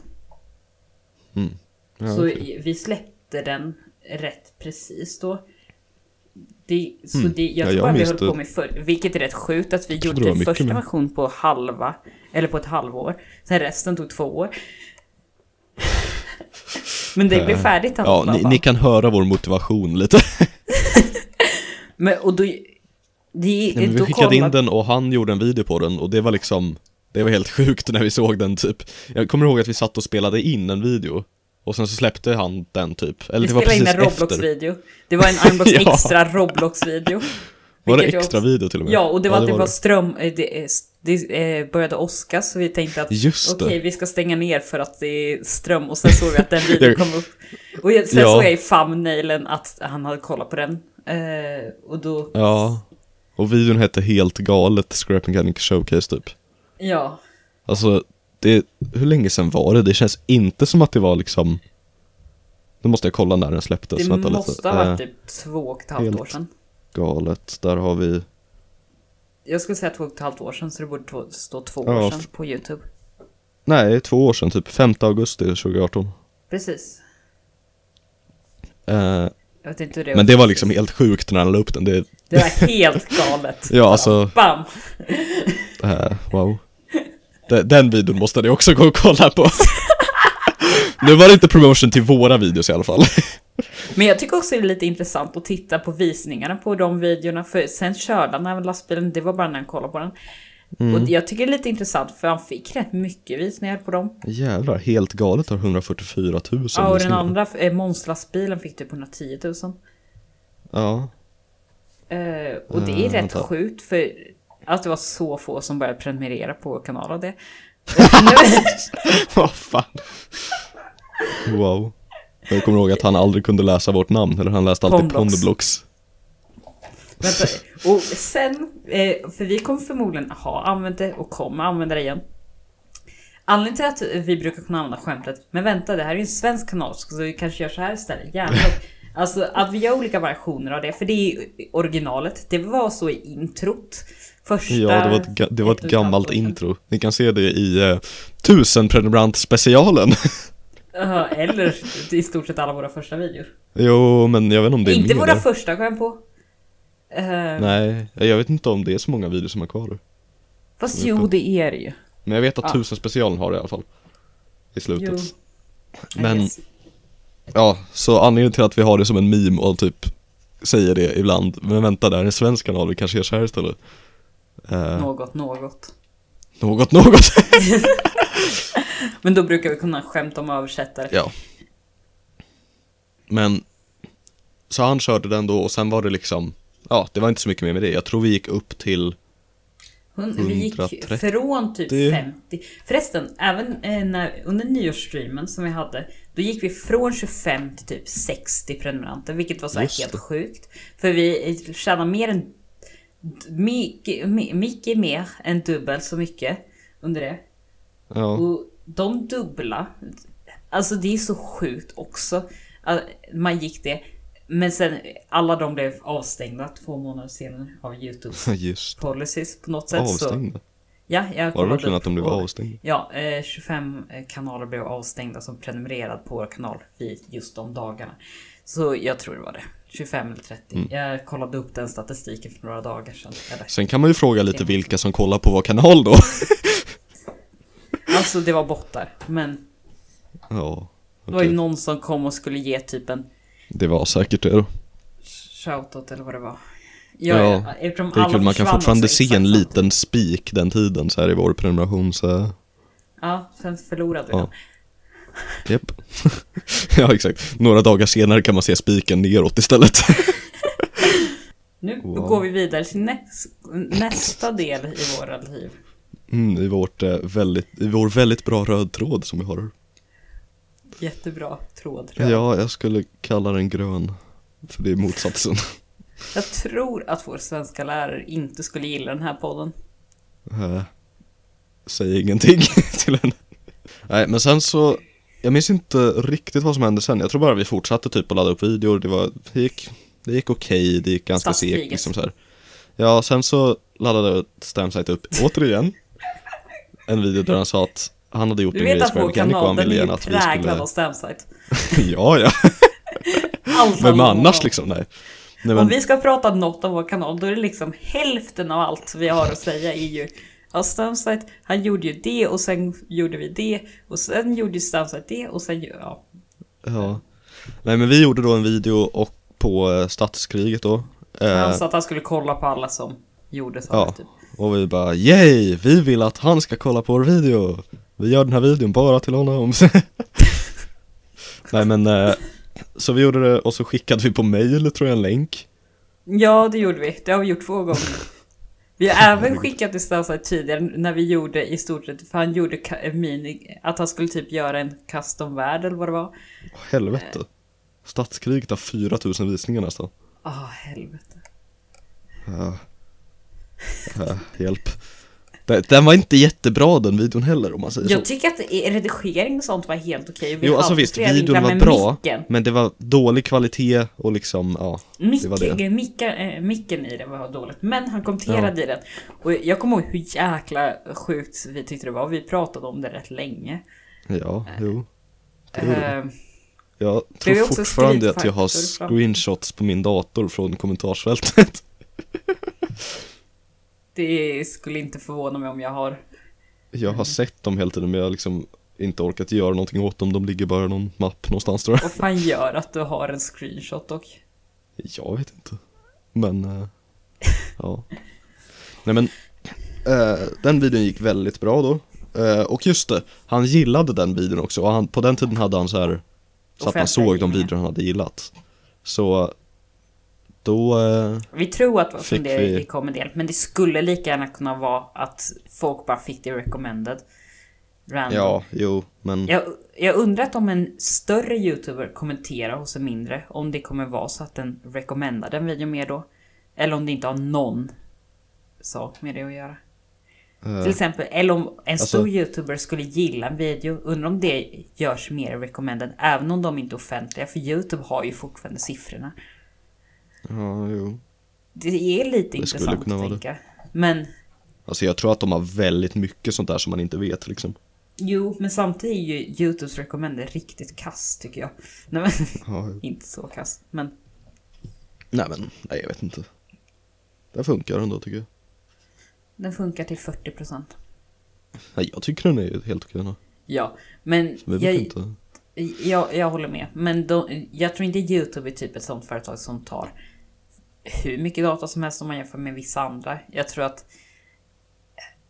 [SPEAKER 2] Ja,
[SPEAKER 1] så
[SPEAKER 2] okej.
[SPEAKER 1] vi släppte den rätt precis då. Det, så det, jag
[SPEAKER 2] Mm. Ja,
[SPEAKER 1] tror
[SPEAKER 2] jag
[SPEAKER 1] bara vi
[SPEAKER 2] minns
[SPEAKER 1] höll
[SPEAKER 2] det.
[SPEAKER 1] på med för, vilket är rätt sjukt att vi
[SPEAKER 2] trodde
[SPEAKER 1] gjorde
[SPEAKER 2] det var
[SPEAKER 1] den
[SPEAKER 2] mycket
[SPEAKER 1] första
[SPEAKER 2] mer.
[SPEAKER 1] versionen på halva, eller på ett halvår. Sen resten tog två
[SPEAKER 2] (laughs)
[SPEAKER 1] år. Men det blev färdigt alltså, i
[SPEAKER 2] Eh, Ja,
[SPEAKER 1] alla
[SPEAKER 2] ni,
[SPEAKER 1] fall.
[SPEAKER 2] ni kan höra vår motivation lite
[SPEAKER 1] Men, och då, Det,
[SPEAKER 2] Nej, men
[SPEAKER 1] då
[SPEAKER 2] vi skickade in
[SPEAKER 1] kollade-
[SPEAKER 2] den och han gjorde en video på den och det var liksom Det var helt (laughs) sjukt när vi såg den typ Jag kommer ihåg att vi satt och spelade in en video Och sen så släppte han den typ Eller
[SPEAKER 1] Vi
[SPEAKER 2] det var
[SPEAKER 1] spelade in
[SPEAKER 2] precis
[SPEAKER 1] en
[SPEAKER 2] efter
[SPEAKER 1] Roblox-video. Det var en Unbox
[SPEAKER 2] (laughs) Ja.
[SPEAKER 1] extra Roblox-video.
[SPEAKER 2] Var det
[SPEAKER 1] vilket jag
[SPEAKER 2] extra
[SPEAKER 1] också-
[SPEAKER 2] video till och med?
[SPEAKER 1] Ja, och det var att det var
[SPEAKER 2] det.
[SPEAKER 1] ström... eh, Det, eh, det eh, började åska så vi tänkte att
[SPEAKER 2] Just det.
[SPEAKER 1] okej, vi ska stänga ner för att det är ström. Och sen såg vi att
[SPEAKER 2] (laughs)
[SPEAKER 1] den videon
[SPEAKER 2] Jag-
[SPEAKER 1] kom upp. Och jag- sen
[SPEAKER 2] Ja.
[SPEAKER 1] såg jag i thumbnailen att han hade kollat på den. Eh, och då...
[SPEAKER 2] Ja Och videon hette helt galet Scrap Mechanic Showcase typ
[SPEAKER 1] Ja.
[SPEAKER 2] Alltså det, hur länge sen var det? Det känns inte som att det var liksom Nu måste jag kolla när den släpptes
[SPEAKER 1] Det
[SPEAKER 2] Vänta
[SPEAKER 1] måste ha
[SPEAKER 2] Eh,
[SPEAKER 1] varit typ två och ett halvt
[SPEAKER 2] helt-
[SPEAKER 1] år sedan.
[SPEAKER 2] Galet, där har vi
[SPEAKER 1] Jag skulle säga två och ett halvt år sedan, så det borde två- stå två
[SPEAKER 2] Ja,
[SPEAKER 1] år
[SPEAKER 2] f-
[SPEAKER 1] sedan på YouTube.
[SPEAKER 2] Nej, två år sedan typ 5 augusti 2018
[SPEAKER 1] Precis.
[SPEAKER 2] eh,
[SPEAKER 1] Jag vet inte hur det
[SPEAKER 2] Men det var liksom helt sjukt när han la upp den, det,
[SPEAKER 1] Det var helt galet.
[SPEAKER 2] (laughs) ja alltså,
[SPEAKER 1] Bam!
[SPEAKER 2] eh, wow (laughs) den, den videon måste ni också gå och kolla på (laughs) Nu var det inte promotion till våra videos i alla fall
[SPEAKER 1] Men jag tycker också det är lite intressant att titta på visningarna på de videorna. För sen körde han även lastbilen, det var bara när han kollade på den. Och jag tycker det är lite intressant för han fick rätt mycket visningar på dem.
[SPEAKER 2] (laughs) Jävlar, helt galet har 144 000
[SPEAKER 1] Ja, och den
[SPEAKER 2] visningar.
[SPEAKER 1] andra, eh, monsterlastbilen fick typ 110 000.
[SPEAKER 2] Ja, (laughs)
[SPEAKER 1] Eh, och det är
[SPEAKER 2] Eh,
[SPEAKER 1] rätt
[SPEAKER 2] vänta.
[SPEAKER 1] sjukt för att det var så få som började prenumerera på kanalen. Det. Eh, nu-
[SPEAKER 2] vad fan Wow Jag kommer ihåg att han aldrig kunde läsa vårt namn, eller han läste alltid
[SPEAKER 1] Pondblocks.
[SPEAKER 2] Pondblocks
[SPEAKER 1] Vänta, och sen, eh, för vi kommer förmodligen ha använt det och kommer använda det igen. Anledningen till att vi brukar kunna använda skämtet, men vänta det här är ju en svensk kanal så vi kanske gör så här istället.
[SPEAKER 2] (laughs)
[SPEAKER 1] Jävlar. Alltså att vi gör olika versioner av det, för det är ju originalet. Det var så i introt. Första...
[SPEAKER 2] Ja, det var ett, ga- det var ett
[SPEAKER 1] ett och ett
[SPEAKER 2] gammalt
[SPEAKER 1] halvt år sedan.
[SPEAKER 2] intro Ni kan se det i eh, 1000 prenumerant specialen
[SPEAKER 1] Ja, Eller i stort sett alla våra första videor.
[SPEAKER 2] (laughs) Jo, men jag vet inte om det är
[SPEAKER 1] Inte
[SPEAKER 2] mer.
[SPEAKER 1] våra första kom jag på. Eh,
[SPEAKER 2] Nej, jag vet inte om det är så många videos som är kvar.
[SPEAKER 1] fast jo, det är det ju.
[SPEAKER 2] Men jag vet att
[SPEAKER 1] Ja.
[SPEAKER 2] tusen specialen har det i alla fall. I slutet.
[SPEAKER 1] Jo.
[SPEAKER 2] Men-
[SPEAKER 1] Yes.
[SPEAKER 2] Ja, så anledningen till att vi har det som en meme och typ säger det ibland, men vänta, det här är en svensk kanal, vi kanske gör så här istället. Eh,
[SPEAKER 1] Något, något.
[SPEAKER 2] Något, (laughs) något.
[SPEAKER 1] Men då brukar vi kunna skämta om översättare.
[SPEAKER 2] ja. Men, så han körde den då och sen var det liksom, ja, det var inte så mycket mer med det. Jag tror vi gick upp till,
[SPEAKER 1] Hon, vi gick
[SPEAKER 2] 130.
[SPEAKER 1] från typ
[SPEAKER 2] Det-
[SPEAKER 1] 50. Förresten, även eh, när, under nyårsstreamen som vi hade, då gick vi från 25 till typ 60 prenumeranter, vilket var så här
[SPEAKER 2] Just
[SPEAKER 1] helt
[SPEAKER 2] det.
[SPEAKER 1] sjukt. För vi eh, tjänar mer än... Mycket, my- mycket mer än dubbelt så mycket under det.
[SPEAKER 2] ja,
[SPEAKER 1] Och de dubbla, alltså det är så sjukt också. att Man gick det. Men sen alla de blev avstängda två månader senare av Youtubes
[SPEAKER 2] (laughs) just
[SPEAKER 1] policies på något sätt. Så,
[SPEAKER 2] avstängda.
[SPEAKER 1] ja, jag
[SPEAKER 2] Var det
[SPEAKER 1] kollade
[SPEAKER 2] verkligen
[SPEAKER 1] upp
[SPEAKER 2] att de blev
[SPEAKER 1] och-
[SPEAKER 2] avstängda?
[SPEAKER 1] Ja, eh, 25 kanaler blev avstängda som prenumererad på vår kanal vid just de dagarna. Så jag tror det var det. 25 eller 30.
[SPEAKER 2] Mm.
[SPEAKER 1] Jag kollade upp den statistiken för några dagar sedan. Eller,
[SPEAKER 2] Sen kan man ju fråga lite vilka som kollar på vår kanal då. (laughs)
[SPEAKER 1] alltså det var bottar. Men
[SPEAKER 2] Ja,
[SPEAKER 1] det var ju
[SPEAKER 2] okej.
[SPEAKER 1] någon som kom och skulle ge typ en
[SPEAKER 2] det var säkert det då.
[SPEAKER 1] shoutout eller vad det var. Ja,
[SPEAKER 2] Ja,
[SPEAKER 1] eftersom
[SPEAKER 2] Det är
[SPEAKER 1] alla
[SPEAKER 2] kul, man kan
[SPEAKER 1] försvann alltså
[SPEAKER 2] fortfarande
[SPEAKER 1] också,
[SPEAKER 2] se en
[SPEAKER 1] exakt
[SPEAKER 2] liten spik den tiden så här i vår prenumeration så,
[SPEAKER 1] samtidigt. Ja, sen förlorade vi
[SPEAKER 2] Ja.
[SPEAKER 1] den.
[SPEAKER 2] japp. (laughs) ja exakt, några dagar senare kan man se spiken neråt istället. (laughs)
[SPEAKER 1] Nu
[SPEAKER 2] Wow.
[SPEAKER 1] går vi vidare till näs, nästa del i våra liv.
[SPEAKER 2] Mm, i, vårt, eh, väldigt, I vår väldigt bra röd tråd som vi har.
[SPEAKER 1] Jättebra tråd. tror jag.
[SPEAKER 2] Ja, jag skulle kalla den grön. För det är motsatsen.
[SPEAKER 1] Jag tror att vår svenska lärare inte skulle gilla den här podden.
[SPEAKER 2] Eh, Säg ingenting (laughs) till henne. Nej, men sen så Jag minns inte riktigt vad som hände sen. Jag tror bara vi fortsatte typ att ladda upp videor. Det, var, det gick, det gick okej, det gick ganska
[SPEAKER 1] Statskriget.
[SPEAKER 2] segt liksom så här. Ja, sen så laddade Stamsite upp återigen en video där han sa att han hade gjort
[SPEAKER 1] Du
[SPEAKER 2] en grej
[SPEAKER 1] vet att
[SPEAKER 2] som
[SPEAKER 1] vår
[SPEAKER 2] jag och
[SPEAKER 1] kanal
[SPEAKER 2] han
[SPEAKER 1] den är
[SPEAKER 2] ville
[SPEAKER 1] ju
[SPEAKER 2] gärna att vi
[SPEAKER 1] präglad
[SPEAKER 2] skulle...
[SPEAKER 1] av Stamsite.
[SPEAKER 2] (laughs)
[SPEAKER 1] (laughs)
[SPEAKER 2] ja, ja.
[SPEAKER 1] Allt
[SPEAKER 2] Vem
[SPEAKER 1] handlar om
[SPEAKER 2] annars
[SPEAKER 1] dem.
[SPEAKER 2] liksom? Nej. Nej
[SPEAKER 1] Om
[SPEAKER 2] men,
[SPEAKER 1] vi ska prata något om vår kanal, då är det liksom hälften av allt vi har att säga är ju Ja, Stamsite, han gjorde ju det och sen gjorde vi det och sen gjorde ju Stamsite det och sen ju- ja.
[SPEAKER 2] ja. Nej men vi gjorde då en video och på eh, statskriget då.
[SPEAKER 1] Han
[SPEAKER 2] Eh,
[SPEAKER 1] sa att han skulle kolla på alla som gjorde saker
[SPEAKER 2] Ja.
[SPEAKER 1] typ.
[SPEAKER 2] och vi bara yay, vi vill att han ska kolla på vår video. Vi gör den här videon bara till honom. (laughs) Nej men, eh, så vi gjorde det och så skickade vi på mail tror jag en länk.
[SPEAKER 1] Ja, det gjorde vi. Det har vi gjort två
[SPEAKER 2] (laughs)
[SPEAKER 1] gånger. Vi har även skickat distanser tidigare när vi gjorde i stort sett, för han gjorde ka- eh, mini, att han skulle typ göra en custom-värld eller vad det var.
[SPEAKER 2] Åh, Helvete. Statskriget har 4000 visningar nästan.
[SPEAKER 1] Ah, helvete.
[SPEAKER 2] Ja. Ja, hjälp. Den, den var inte jättebra den videon heller om man säger
[SPEAKER 1] Jag
[SPEAKER 2] så.
[SPEAKER 1] tycker att i- redigering och sånt var helt okej. Vi
[SPEAKER 2] Jo
[SPEAKER 1] har
[SPEAKER 2] alltså
[SPEAKER 1] haft
[SPEAKER 2] visst,
[SPEAKER 1] flera
[SPEAKER 2] videon
[SPEAKER 1] vinklar,
[SPEAKER 2] var
[SPEAKER 1] men
[SPEAKER 2] bra,
[SPEAKER 1] Micken,
[SPEAKER 2] men det var dålig kvalitet och liksom, ja. det var
[SPEAKER 1] micken, micka- eh, micken i den var dåligt, men han kommenterade i den. Och jag kommer ihåg hur jäkla sjukt vi tyckte det var. Vi pratade om det rätt länge.
[SPEAKER 2] Ja, jo. Det gjorde det.
[SPEAKER 1] Eh,
[SPEAKER 2] Jag
[SPEAKER 1] är
[SPEAKER 2] tror
[SPEAKER 1] också
[SPEAKER 2] fortfarande att jag har
[SPEAKER 1] Street Fighter fram.
[SPEAKER 2] screenshots på min dator från kommentarsfältet.
[SPEAKER 1] Det skulle inte förvåna mig om jag har
[SPEAKER 2] Jag har sett dem hela tiden men jag har liksom inte orkat göra någonting åt dem, de ligger bara i någon mapp någonstans tror jag.
[SPEAKER 1] Vad fan gör att du har en screenshot och
[SPEAKER 2] Jag vet inte. Men, eh, ja. Nej men, eh, den videon gick väldigt bra då. Eh, och just det, han gillade den videon också. Och han, på den tiden hade han så här, så att man
[SPEAKER 1] Offentliga
[SPEAKER 2] såg de
[SPEAKER 1] gillningar.
[SPEAKER 2] videor han hade gillat. Så, då, eh,
[SPEAKER 1] Vi tror att
[SPEAKER 2] Fick
[SPEAKER 1] från det
[SPEAKER 2] vi-
[SPEAKER 1] vi... kom en del, men det skulle lika gärna kunna vara att folk bara fick det recommended. Random.
[SPEAKER 2] ja, jo, men
[SPEAKER 1] Jag, jag undrar om en större youtuber kommenterar hos en mindre, om det kommer vara så att den rekommendar en video mer då. Eller om det inte har någon sak med det att göra.
[SPEAKER 2] eh,
[SPEAKER 1] Till exempel, eller om en
[SPEAKER 2] Alltså-
[SPEAKER 1] stor youtuber skulle gilla en video, undrar om det görs mer recommended, även om de inte är offentliga, för youtube har ju fortfarande siffrorna.
[SPEAKER 2] ja, jo.
[SPEAKER 1] Det är lite
[SPEAKER 2] Det skulle
[SPEAKER 1] intressant
[SPEAKER 2] kunna vara
[SPEAKER 1] att tänka. Men
[SPEAKER 2] Alltså jag tror att de har väldigt mycket sånt där som man inte vet liksom.
[SPEAKER 1] jo, men samtidigt är ju Youtubes recommender riktigt kass tycker jag. Nej, men, (laughs)
[SPEAKER 2] Ja,
[SPEAKER 1] inte så kass, men
[SPEAKER 2] nej men, nej jag vet inte. Den funkar ändå tycker jag.
[SPEAKER 1] den funkar till 40%.
[SPEAKER 2] Nej, jag tycker den är helt okej. den här.
[SPEAKER 1] Ja, men
[SPEAKER 2] Vi brukar
[SPEAKER 1] jag,
[SPEAKER 2] inte...
[SPEAKER 1] jag, jag håller med. Men de, jag tror inte Youtube är typ ett sånt företag som tar hur mycket data som helst om man jämför med vissa andra. Jag tror att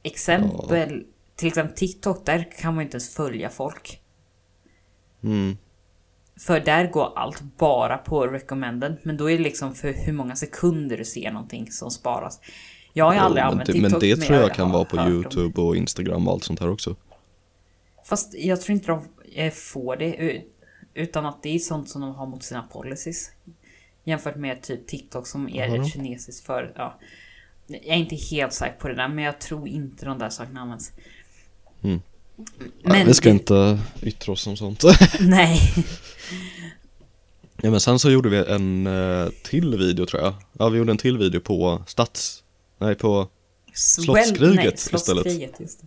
[SPEAKER 1] exempel, till exempel TikTok, där kan man ju inte ens följa folk.
[SPEAKER 2] Mm.
[SPEAKER 1] För där går allt bara på recommended, men då är det liksom för hur många sekunder du ser någonting som sparas. Jag har ju
[SPEAKER 2] Jo,
[SPEAKER 1] aldrig
[SPEAKER 2] men
[SPEAKER 1] använt
[SPEAKER 2] det-
[SPEAKER 1] TikTok.
[SPEAKER 2] Men det tror
[SPEAKER 1] har
[SPEAKER 2] jag kan vara på
[SPEAKER 1] hört om-
[SPEAKER 2] YouTube och Instagram och allt sånt här också.
[SPEAKER 1] Fast jag tror inte de eh, får det, u- utan att det är sånt som de har mot sina policies. Jämfört med typ TikTok som är
[SPEAKER 2] Jaha.
[SPEAKER 1] ett kinesiskt för... Ja. Jag är inte helt säker på det där, men jag tror inte de där sakerna används.
[SPEAKER 2] Mm.
[SPEAKER 1] Men,
[SPEAKER 2] Nej, vi ska inte yttra oss om sånt. (laughs)
[SPEAKER 1] Nej.
[SPEAKER 2] ja, men sen så gjorde vi en eh, till video tror jag. Ja, vi gjorde en till video på stats... Nej, på... Slottskriget
[SPEAKER 1] nej,
[SPEAKER 2] istället.
[SPEAKER 1] Slottskriget, just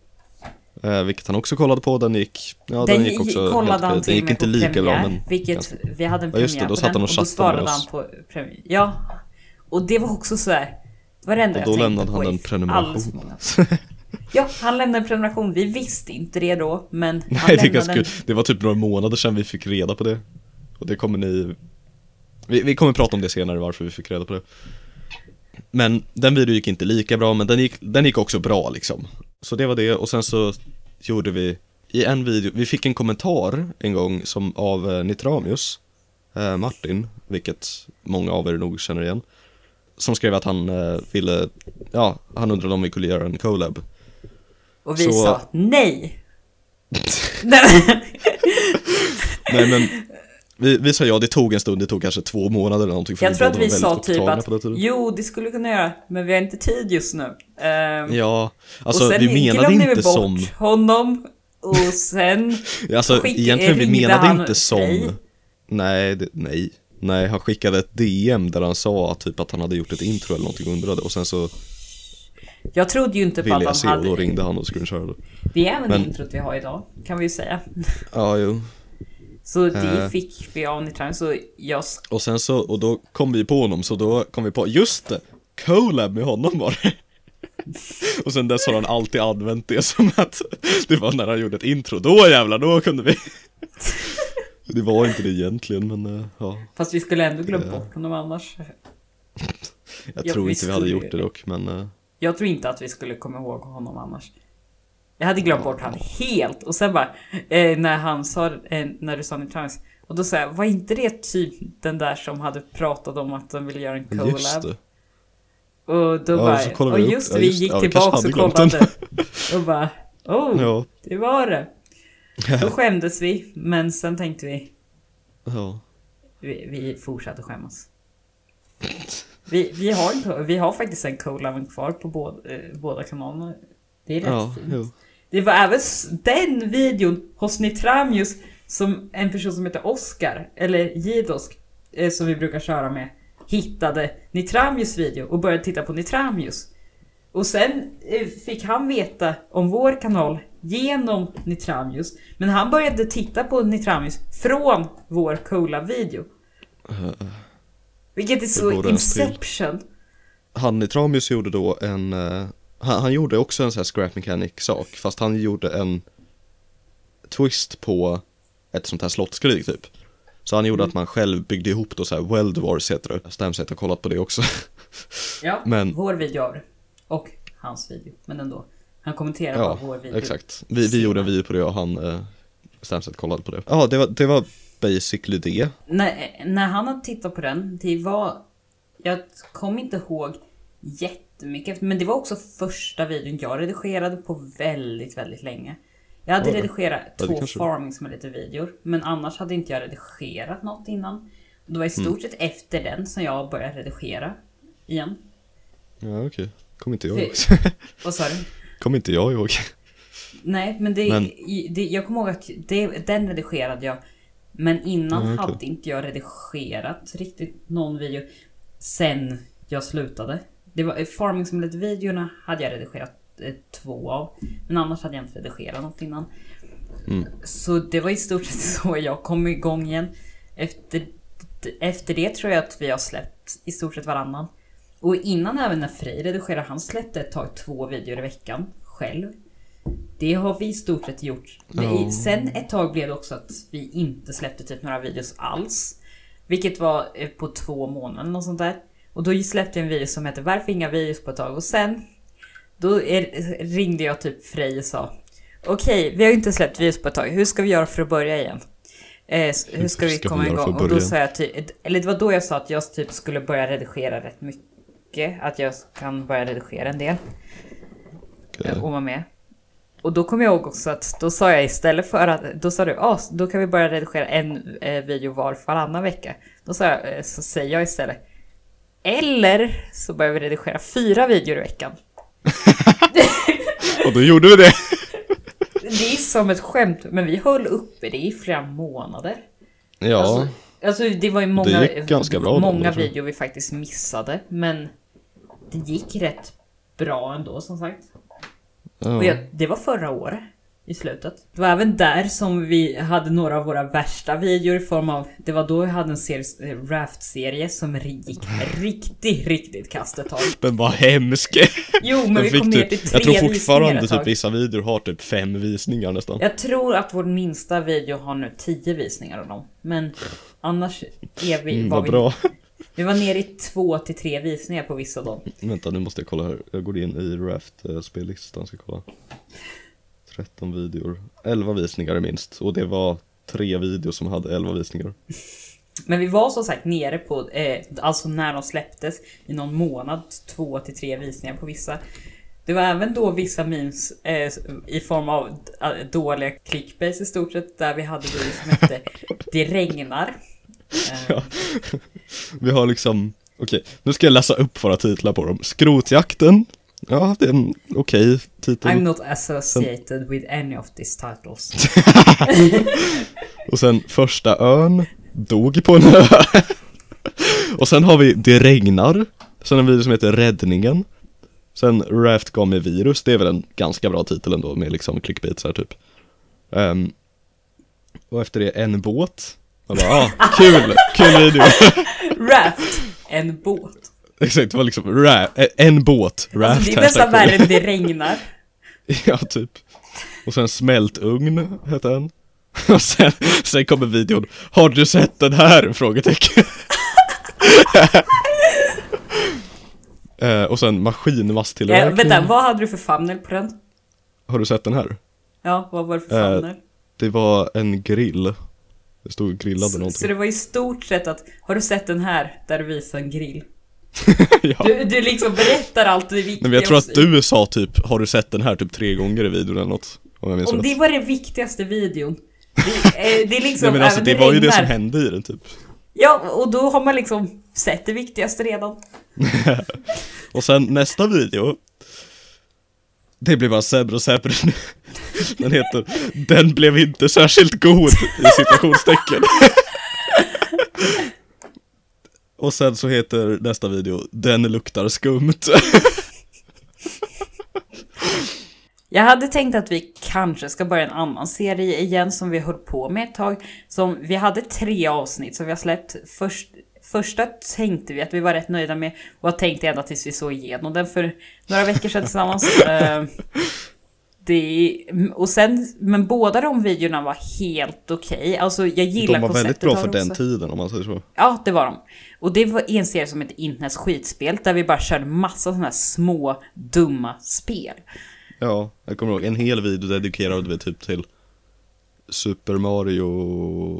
[SPEAKER 1] det.
[SPEAKER 2] Eh, vilket han också kollade på, den gick... Ja, den,
[SPEAKER 1] den
[SPEAKER 2] gick också helt
[SPEAKER 1] kollade han
[SPEAKER 2] okej. Den
[SPEAKER 1] till
[SPEAKER 2] gick
[SPEAKER 1] och med
[SPEAKER 2] inte
[SPEAKER 1] på
[SPEAKER 2] lika
[SPEAKER 1] premiär,
[SPEAKER 2] bra men...
[SPEAKER 1] vilket
[SPEAKER 2] ganska-
[SPEAKER 1] vi hade en
[SPEAKER 2] Ja,
[SPEAKER 1] premiär
[SPEAKER 2] just det, då
[SPEAKER 1] på
[SPEAKER 2] satt
[SPEAKER 1] den
[SPEAKER 2] han och
[SPEAKER 1] och då
[SPEAKER 2] chattade med
[SPEAKER 1] svarade han
[SPEAKER 2] oss.
[SPEAKER 1] på premiär. Ja, och det var också så här. Det var det enda
[SPEAKER 2] Och då
[SPEAKER 1] jag tänkte
[SPEAKER 2] lämnade
[SPEAKER 1] på
[SPEAKER 2] han
[SPEAKER 1] i
[SPEAKER 2] en prenumeration.
[SPEAKER 1] alldeles för många. Ja, han lämnade en prenumeration. Vi visste inte det då, men han
[SPEAKER 2] (laughs) Nej, det är
[SPEAKER 1] lämnade
[SPEAKER 2] ganska
[SPEAKER 1] en...
[SPEAKER 2] kul. Det var typ några månader sedan vi fick reda på det. Och det kommer ni... Vi, vi kommer prata om det senare, varför vi fick reda på det. Men den videon gick inte lika bra, men den gick, den gick också bra liksom. Så det var det, och sen så gjorde vi i en video, vi fick en kommentar en gång som av eh, Nitramius, eh, Martin, vilket många av er nog känner igen. Som skrev att han eh, ville, ja, han undrade om vi kunde göra en collab.
[SPEAKER 1] Och vi
[SPEAKER 2] så-
[SPEAKER 1] sa nej. (laughs) Nej, men-
[SPEAKER 2] Nej men vi, vi sa ja, det tog en stund, det tog kanske två månader eller någonting för
[SPEAKER 1] jag tror att
[SPEAKER 2] båda var
[SPEAKER 1] vi sa
[SPEAKER 2] väldigt
[SPEAKER 1] typ
[SPEAKER 2] upptagna
[SPEAKER 1] att
[SPEAKER 2] på den tiden.
[SPEAKER 1] jo, det skulle vi kunna göra, men vi har inte tid just nu. Ehm,
[SPEAKER 2] Ja, alltså
[SPEAKER 1] och sen
[SPEAKER 2] vi menade
[SPEAKER 1] glömde vi
[SPEAKER 2] inte
[SPEAKER 1] bort
[SPEAKER 2] som
[SPEAKER 1] honom och sen
[SPEAKER 2] Alltså
[SPEAKER 1] Skick-
[SPEAKER 2] egentligen, vi
[SPEAKER 1] ringde
[SPEAKER 2] menade
[SPEAKER 1] han
[SPEAKER 2] inte som
[SPEAKER 1] dig?
[SPEAKER 2] Nej, det, nej Nej, han skickade ett DM där han sa typ att han hade gjort ett intro eller någonting och undrade och sen så
[SPEAKER 1] Jag trodde ju inte på
[SPEAKER 2] ville
[SPEAKER 1] Typ att
[SPEAKER 2] jag se och
[SPEAKER 1] han
[SPEAKER 2] då
[SPEAKER 1] hade...
[SPEAKER 2] ringde han och screenshotade
[SPEAKER 1] Det är även
[SPEAKER 2] Men-
[SPEAKER 1] introt vi har idag, kan vi ju säga.
[SPEAKER 2] Ja, jo
[SPEAKER 1] Så det
[SPEAKER 2] Eh.
[SPEAKER 1] fick vi av Nitran, så jag... s-
[SPEAKER 2] Och sen så, och då kom vi på honom, så då kom vi på, just det! Colab med honom var det! (laughs) Och sen dess har han alltid använt det som att det var när han gjorde ett intro, då jävlar, då kunde vi! (laughs) Det var inte det egentligen, men eh, ja.
[SPEAKER 1] Fast vi skulle ändå glömt bort honom annars.
[SPEAKER 2] Jag
[SPEAKER 1] Ja,
[SPEAKER 2] tror
[SPEAKER 1] vi
[SPEAKER 2] inte vi hade
[SPEAKER 1] skulle
[SPEAKER 2] gjort
[SPEAKER 1] ju-
[SPEAKER 2] det dock, men eh,
[SPEAKER 1] Jag tror inte att vi skulle komma ihåg honom annars. Jag hade glömt bort han helt och sen bara eh, när han sa, eh, när du sa New Times och då sa jag, var inte det typ den där som hade pratat om att de ville göra en collab?
[SPEAKER 2] just det.
[SPEAKER 1] Och då
[SPEAKER 2] Ja,
[SPEAKER 1] bara,
[SPEAKER 2] så kollade
[SPEAKER 1] och
[SPEAKER 2] vi upp-
[SPEAKER 1] just
[SPEAKER 2] ja,
[SPEAKER 1] det, vi
[SPEAKER 2] just det.
[SPEAKER 1] gick
[SPEAKER 2] Ja, vi kanske
[SPEAKER 1] tillbaks
[SPEAKER 2] hade
[SPEAKER 1] och
[SPEAKER 2] glömt
[SPEAKER 1] kollade. och bara, oh,
[SPEAKER 2] Ja,
[SPEAKER 1] det var
[SPEAKER 2] (laughs)
[SPEAKER 1] det. Då skämdes vi, men sen tänkte vi,
[SPEAKER 2] ja.
[SPEAKER 1] vi, vi fortsatte skämmas. Vi, vi, har, en- vi har faktiskt en collab kvar på båda, eh, båda kanalerna. Det är rätt
[SPEAKER 2] ja,
[SPEAKER 1] fint.
[SPEAKER 2] jo.
[SPEAKER 1] Det var även s- den videon hos Nitramius som en person som heter Oscar, eller Jidosk, eh, som vi brukar köra med, hittade Nitramius video och började titta på Nitramius. Och sen eh, fick han veta om vår kanal genom Nitramius, men han började titta på Nitramius från vår coola video. Vilket är så
[SPEAKER 2] borde ens till.
[SPEAKER 1] Inception.
[SPEAKER 2] Han i Tramius gjorde då en, eh, han, han gjorde också en sån här scrap mechanic sak, fast han gjorde en twist på ett sånt här slottskrig typ. Så han gjorde
[SPEAKER 1] Mm.
[SPEAKER 2] att man själv byggde ihop då så här World Wars heter det. Stamset har kollat på det också.
[SPEAKER 1] Ja,
[SPEAKER 2] Men-
[SPEAKER 1] vår video av det. Och hans video, men ändå. Han kommenterade
[SPEAKER 2] Ja,
[SPEAKER 1] bara vår video.
[SPEAKER 2] exakt. Vi, vi gjorde en video på det och han, eh, Stamset kollade på det. Ja, det var, det var basically det.
[SPEAKER 1] När, när han hade tittat på den, det var... Jag kommer inte ihåg jättemycket, men det var också första videon jag redigerade på väldigt, väldigt länge. Jag hade
[SPEAKER 2] Oj.
[SPEAKER 1] redigerat
[SPEAKER 2] Ja, det
[SPEAKER 1] två
[SPEAKER 2] kanske-
[SPEAKER 1] farming som är lite videor, men annars hade inte jag redigerat något innan. Det var i
[SPEAKER 2] Mm.
[SPEAKER 1] stort sett efter den som jag började redigera igen.
[SPEAKER 2] Ja, okej. Kom inte jag
[SPEAKER 1] Fy.
[SPEAKER 2] ihåg. (laughs)
[SPEAKER 1] Vad sa du?
[SPEAKER 2] Kom inte jag ihåg.
[SPEAKER 1] Nej, men, det,
[SPEAKER 2] Men-
[SPEAKER 1] i- det, jag kommer ihåg att det, den redigerade jag. Men innan
[SPEAKER 2] Ja, Mm, okej.
[SPEAKER 1] hade inte jag redigerat riktigt någon video sen jag slutade. Det var eh, Farming som lite videorna hade jag redigerat eh, två av. Men annars hade jag inte redigerat något innan.
[SPEAKER 2] Mm.
[SPEAKER 1] Så det var i stort sett (laughs) så jag kom igång igen. Efter, efter det tror jag att vi har släppt i stort sett varannan. Och innan även när Frej redigerade, han släppte ett tag två videor i veckan själv. Det har vi i stort sett gjort.
[SPEAKER 2] Ja.
[SPEAKER 1] Vi, sen ett tag blev det också att vi inte släppte typ några videos alls. Vilket var eh, på två månader och sånt där. Och då släppte jag en video som heter Varför inga videos på ett tag? Och sen då är, ringde jag typ Frej och sa Okej, vi har ju inte släppt videos på ett tag. Hur ska vi göra för att börja igen? Eh, s- hur ska vi
[SPEAKER 2] ska vi
[SPEAKER 1] komma
[SPEAKER 2] göra för
[SPEAKER 1] igång?
[SPEAKER 2] att
[SPEAKER 1] Och då
[SPEAKER 2] börja?
[SPEAKER 1] sa jag typ, eller det var då jag sa att jag typ skulle börja redigera rätt mycket. Att jag kan börja redigera en del
[SPEAKER 2] Okej.
[SPEAKER 1] och vara med. Och då kommer jag ihåg också att då sa jag istället för att, då sa du, ah, då kan vi börja redigera en eh, video var varannan vecka. Då sa jag, eh, så säger jag istället, eller så börjar vi redigera fyra videor i veckan.
[SPEAKER 2] Och då gjorde vi det!
[SPEAKER 1] Det är som ett skämt, men vi höll uppe det i flera månader.
[SPEAKER 2] Ja,
[SPEAKER 1] Alltså, alltså det var ju många,
[SPEAKER 2] gick ganska bra då,
[SPEAKER 1] många
[SPEAKER 2] tror jag.
[SPEAKER 1] videor vi faktiskt missade, men det gick rätt bra ändå som sagt.
[SPEAKER 2] ja.
[SPEAKER 1] Och jag, det var förra året. I slutet. Det var även där som vi hade några av våra värsta videor i form av... Det var då vi hade en serie, eh, Raft-serie som gick riktigt, riktigt kast ett tag.
[SPEAKER 2] den var hemsk!
[SPEAKER 1] Jo, men
[SPEAKER 2] Den
[SPEAKER 1] vi kom
[SPEAKER 2] fick
[SPEAKER 1] ner
[SPEAKER 2] typ,
[SPEAKER 1] till tre
[SPEAKER 2] jag tror
[SPEAKER 1] visningar
[SPEAKER 2] fortfarande
[SPEAKER 1] ett tag.
[SPEAKER 2] typ vissa videor har typ fem visningar nästan.
[SPEAKER 1] Jag tror att vår minsta video har nu 10 visningar av dem. Men annars är vi...
[SPEAKER 2] Mm,
[SPEAKER 1] var
[SPEAKER 2] vad
[SPEAKER 1] vi,
[SPEAKER 2] bra. (laughs)
[SPEAKER 1] vi var nere i två till tre visningar på vissa av dem.
[SPEAKER 2] Vänta, nu måste jag kolla här. Jag går in i Raft-spellistan, ska kolla. 13 videor, 11 visningar minst. Och det var tre videor som hade 11 visningar.
[SPEAKER 1] Men vi var som sagt nere på, eh, alltså när de släpptes, i någon månad, två till tre visningar på vissa. Det var även då vissa memes eh, i form av d- eh, dåliga clickbase i stort sett, där vi hade videor som hette Det regnar. Eh,
[SPEAKER 2] Vi har liksom, okej, nu ska jag läsa upp våra titlar på dem. Skrotjakten. Ja, det är en okej
[SPEAKER 1] I'm
[SPEAKER 2] titel.
[SPEAKER 1] not associated with any of these titles.
[SPEAKER 2] (laughs) Och sen första ön. Dog på en ö. (laughs) Och sen har vi Det regnar. Sen en video som heter Räddningen. Sen Raft gav mig virus, det är väl en ganska bra titel ändå med liksom clickbait så här typ. Ehm, och efter det en båt. Man bara, ah, kul, kul video. (laughs)
[SPEAKER 1] Raft, en båt.
[SPEAKER 2] Exakt, det var liksom ra- en båt, raft.
[SPEAKER 1] Alltså, det är
[SPEAKER 2] hashtag
[SPEAKER 1] nästan
[SPEAKER 2] cool.
[SPEAKER 1] värre än Det
[SPEAKER 2] (laughs)
[SPEAKER 1] regnar.
[SPEAKER 2] Ja, typ. Och sen smältugn hette den. (laughs) Och sen, sen kommer videon. Har du sett den här? Frågetecken. (laughs) Eh, och sen
[SPEAKER 1] Ja,
[SPEAKER 2] maskinmasstillverkning.
[SPEAKER 1] Eh, vänta, vad hade du för famnel på den?
[SPEAKER 2] Har du sett den här?
[SPEAKER 1] Ja, vad var det för
[SPEAKER 2] Eh,
[SPEAKER 1] famnel?
[SPEAKER 2] Det var en grill. Det stod grillade
[SPEAKER 1] Så, så
[SPEAKER 2] någonting.
[SPEAKER 1] det var i stort sett att, har du sett den här? Där du visar en grill.
[SPEAKER 2] (laughs) ja.
[SPEAKER 1] Du, du liksom berättar allt det viktiga.
[SPEAKER 2] Nej, men jag tror att du sa typ, har du sett den här typ tre gånger i videon eller något? Om jag minns
[SPEAKER 1] Om
[SPEAKER 2] rätt.
[SPEAKER 1] det var den viktigaste videon. Det, eh, det är liksom,
[SPEAKER 2] Nej men alltså
[SPEAKER 1] även
[SPEAKER 2] det var ju det
[SPEAKER 1] regnar.
[SPEAKER 2] som hände i den typ.
[SPEAKER 1] Ja, och då har man liksom sett det viktigaste redan.
[SPEAKER 2] Och sen nästa video Det blir bara sämre och sämre nu Den heter Den blev inte särskilt god i citationstecken Och sen så heter nästa video Den luktar skumt
[SPEAKER 1] Jag hade tänkt att vi kanske ska börja en annan serie igen som vi höll på med ett tag. Som, vi hade tre avsnitt som vi har släppt. Först, första tänkte vi att vi var rätt nöjda med och har tänkt ända tills vi såg igenom den för några veckor sedan
[SPEAKER 2] (laughs)
[SPEAKER 1] tillsammans. Eh, Det, och sen, men båda de videorna var helt okej. Alltså jag gillar
[SPEAKER 2] De var
[SPEAKER 1] konceptet
[SPEAKER 2] väldigt bra
[SPEAKER 1] av
[SPEAKER 2] för
[SPEAKER 1] det
[SPEAKER 2] den
[SPEAKER 1] också.
[SPEAKER 2] tiden om man säger så
[SPEAKER 1] Ja, det var de. Och det var en serie som hette Internets skitspel där vi bara körde massa sådana här små dumma spel.
[SPEAKER 2] Ja, jag kommer ihåg en hel video dedikerad vi typ till Super Mario,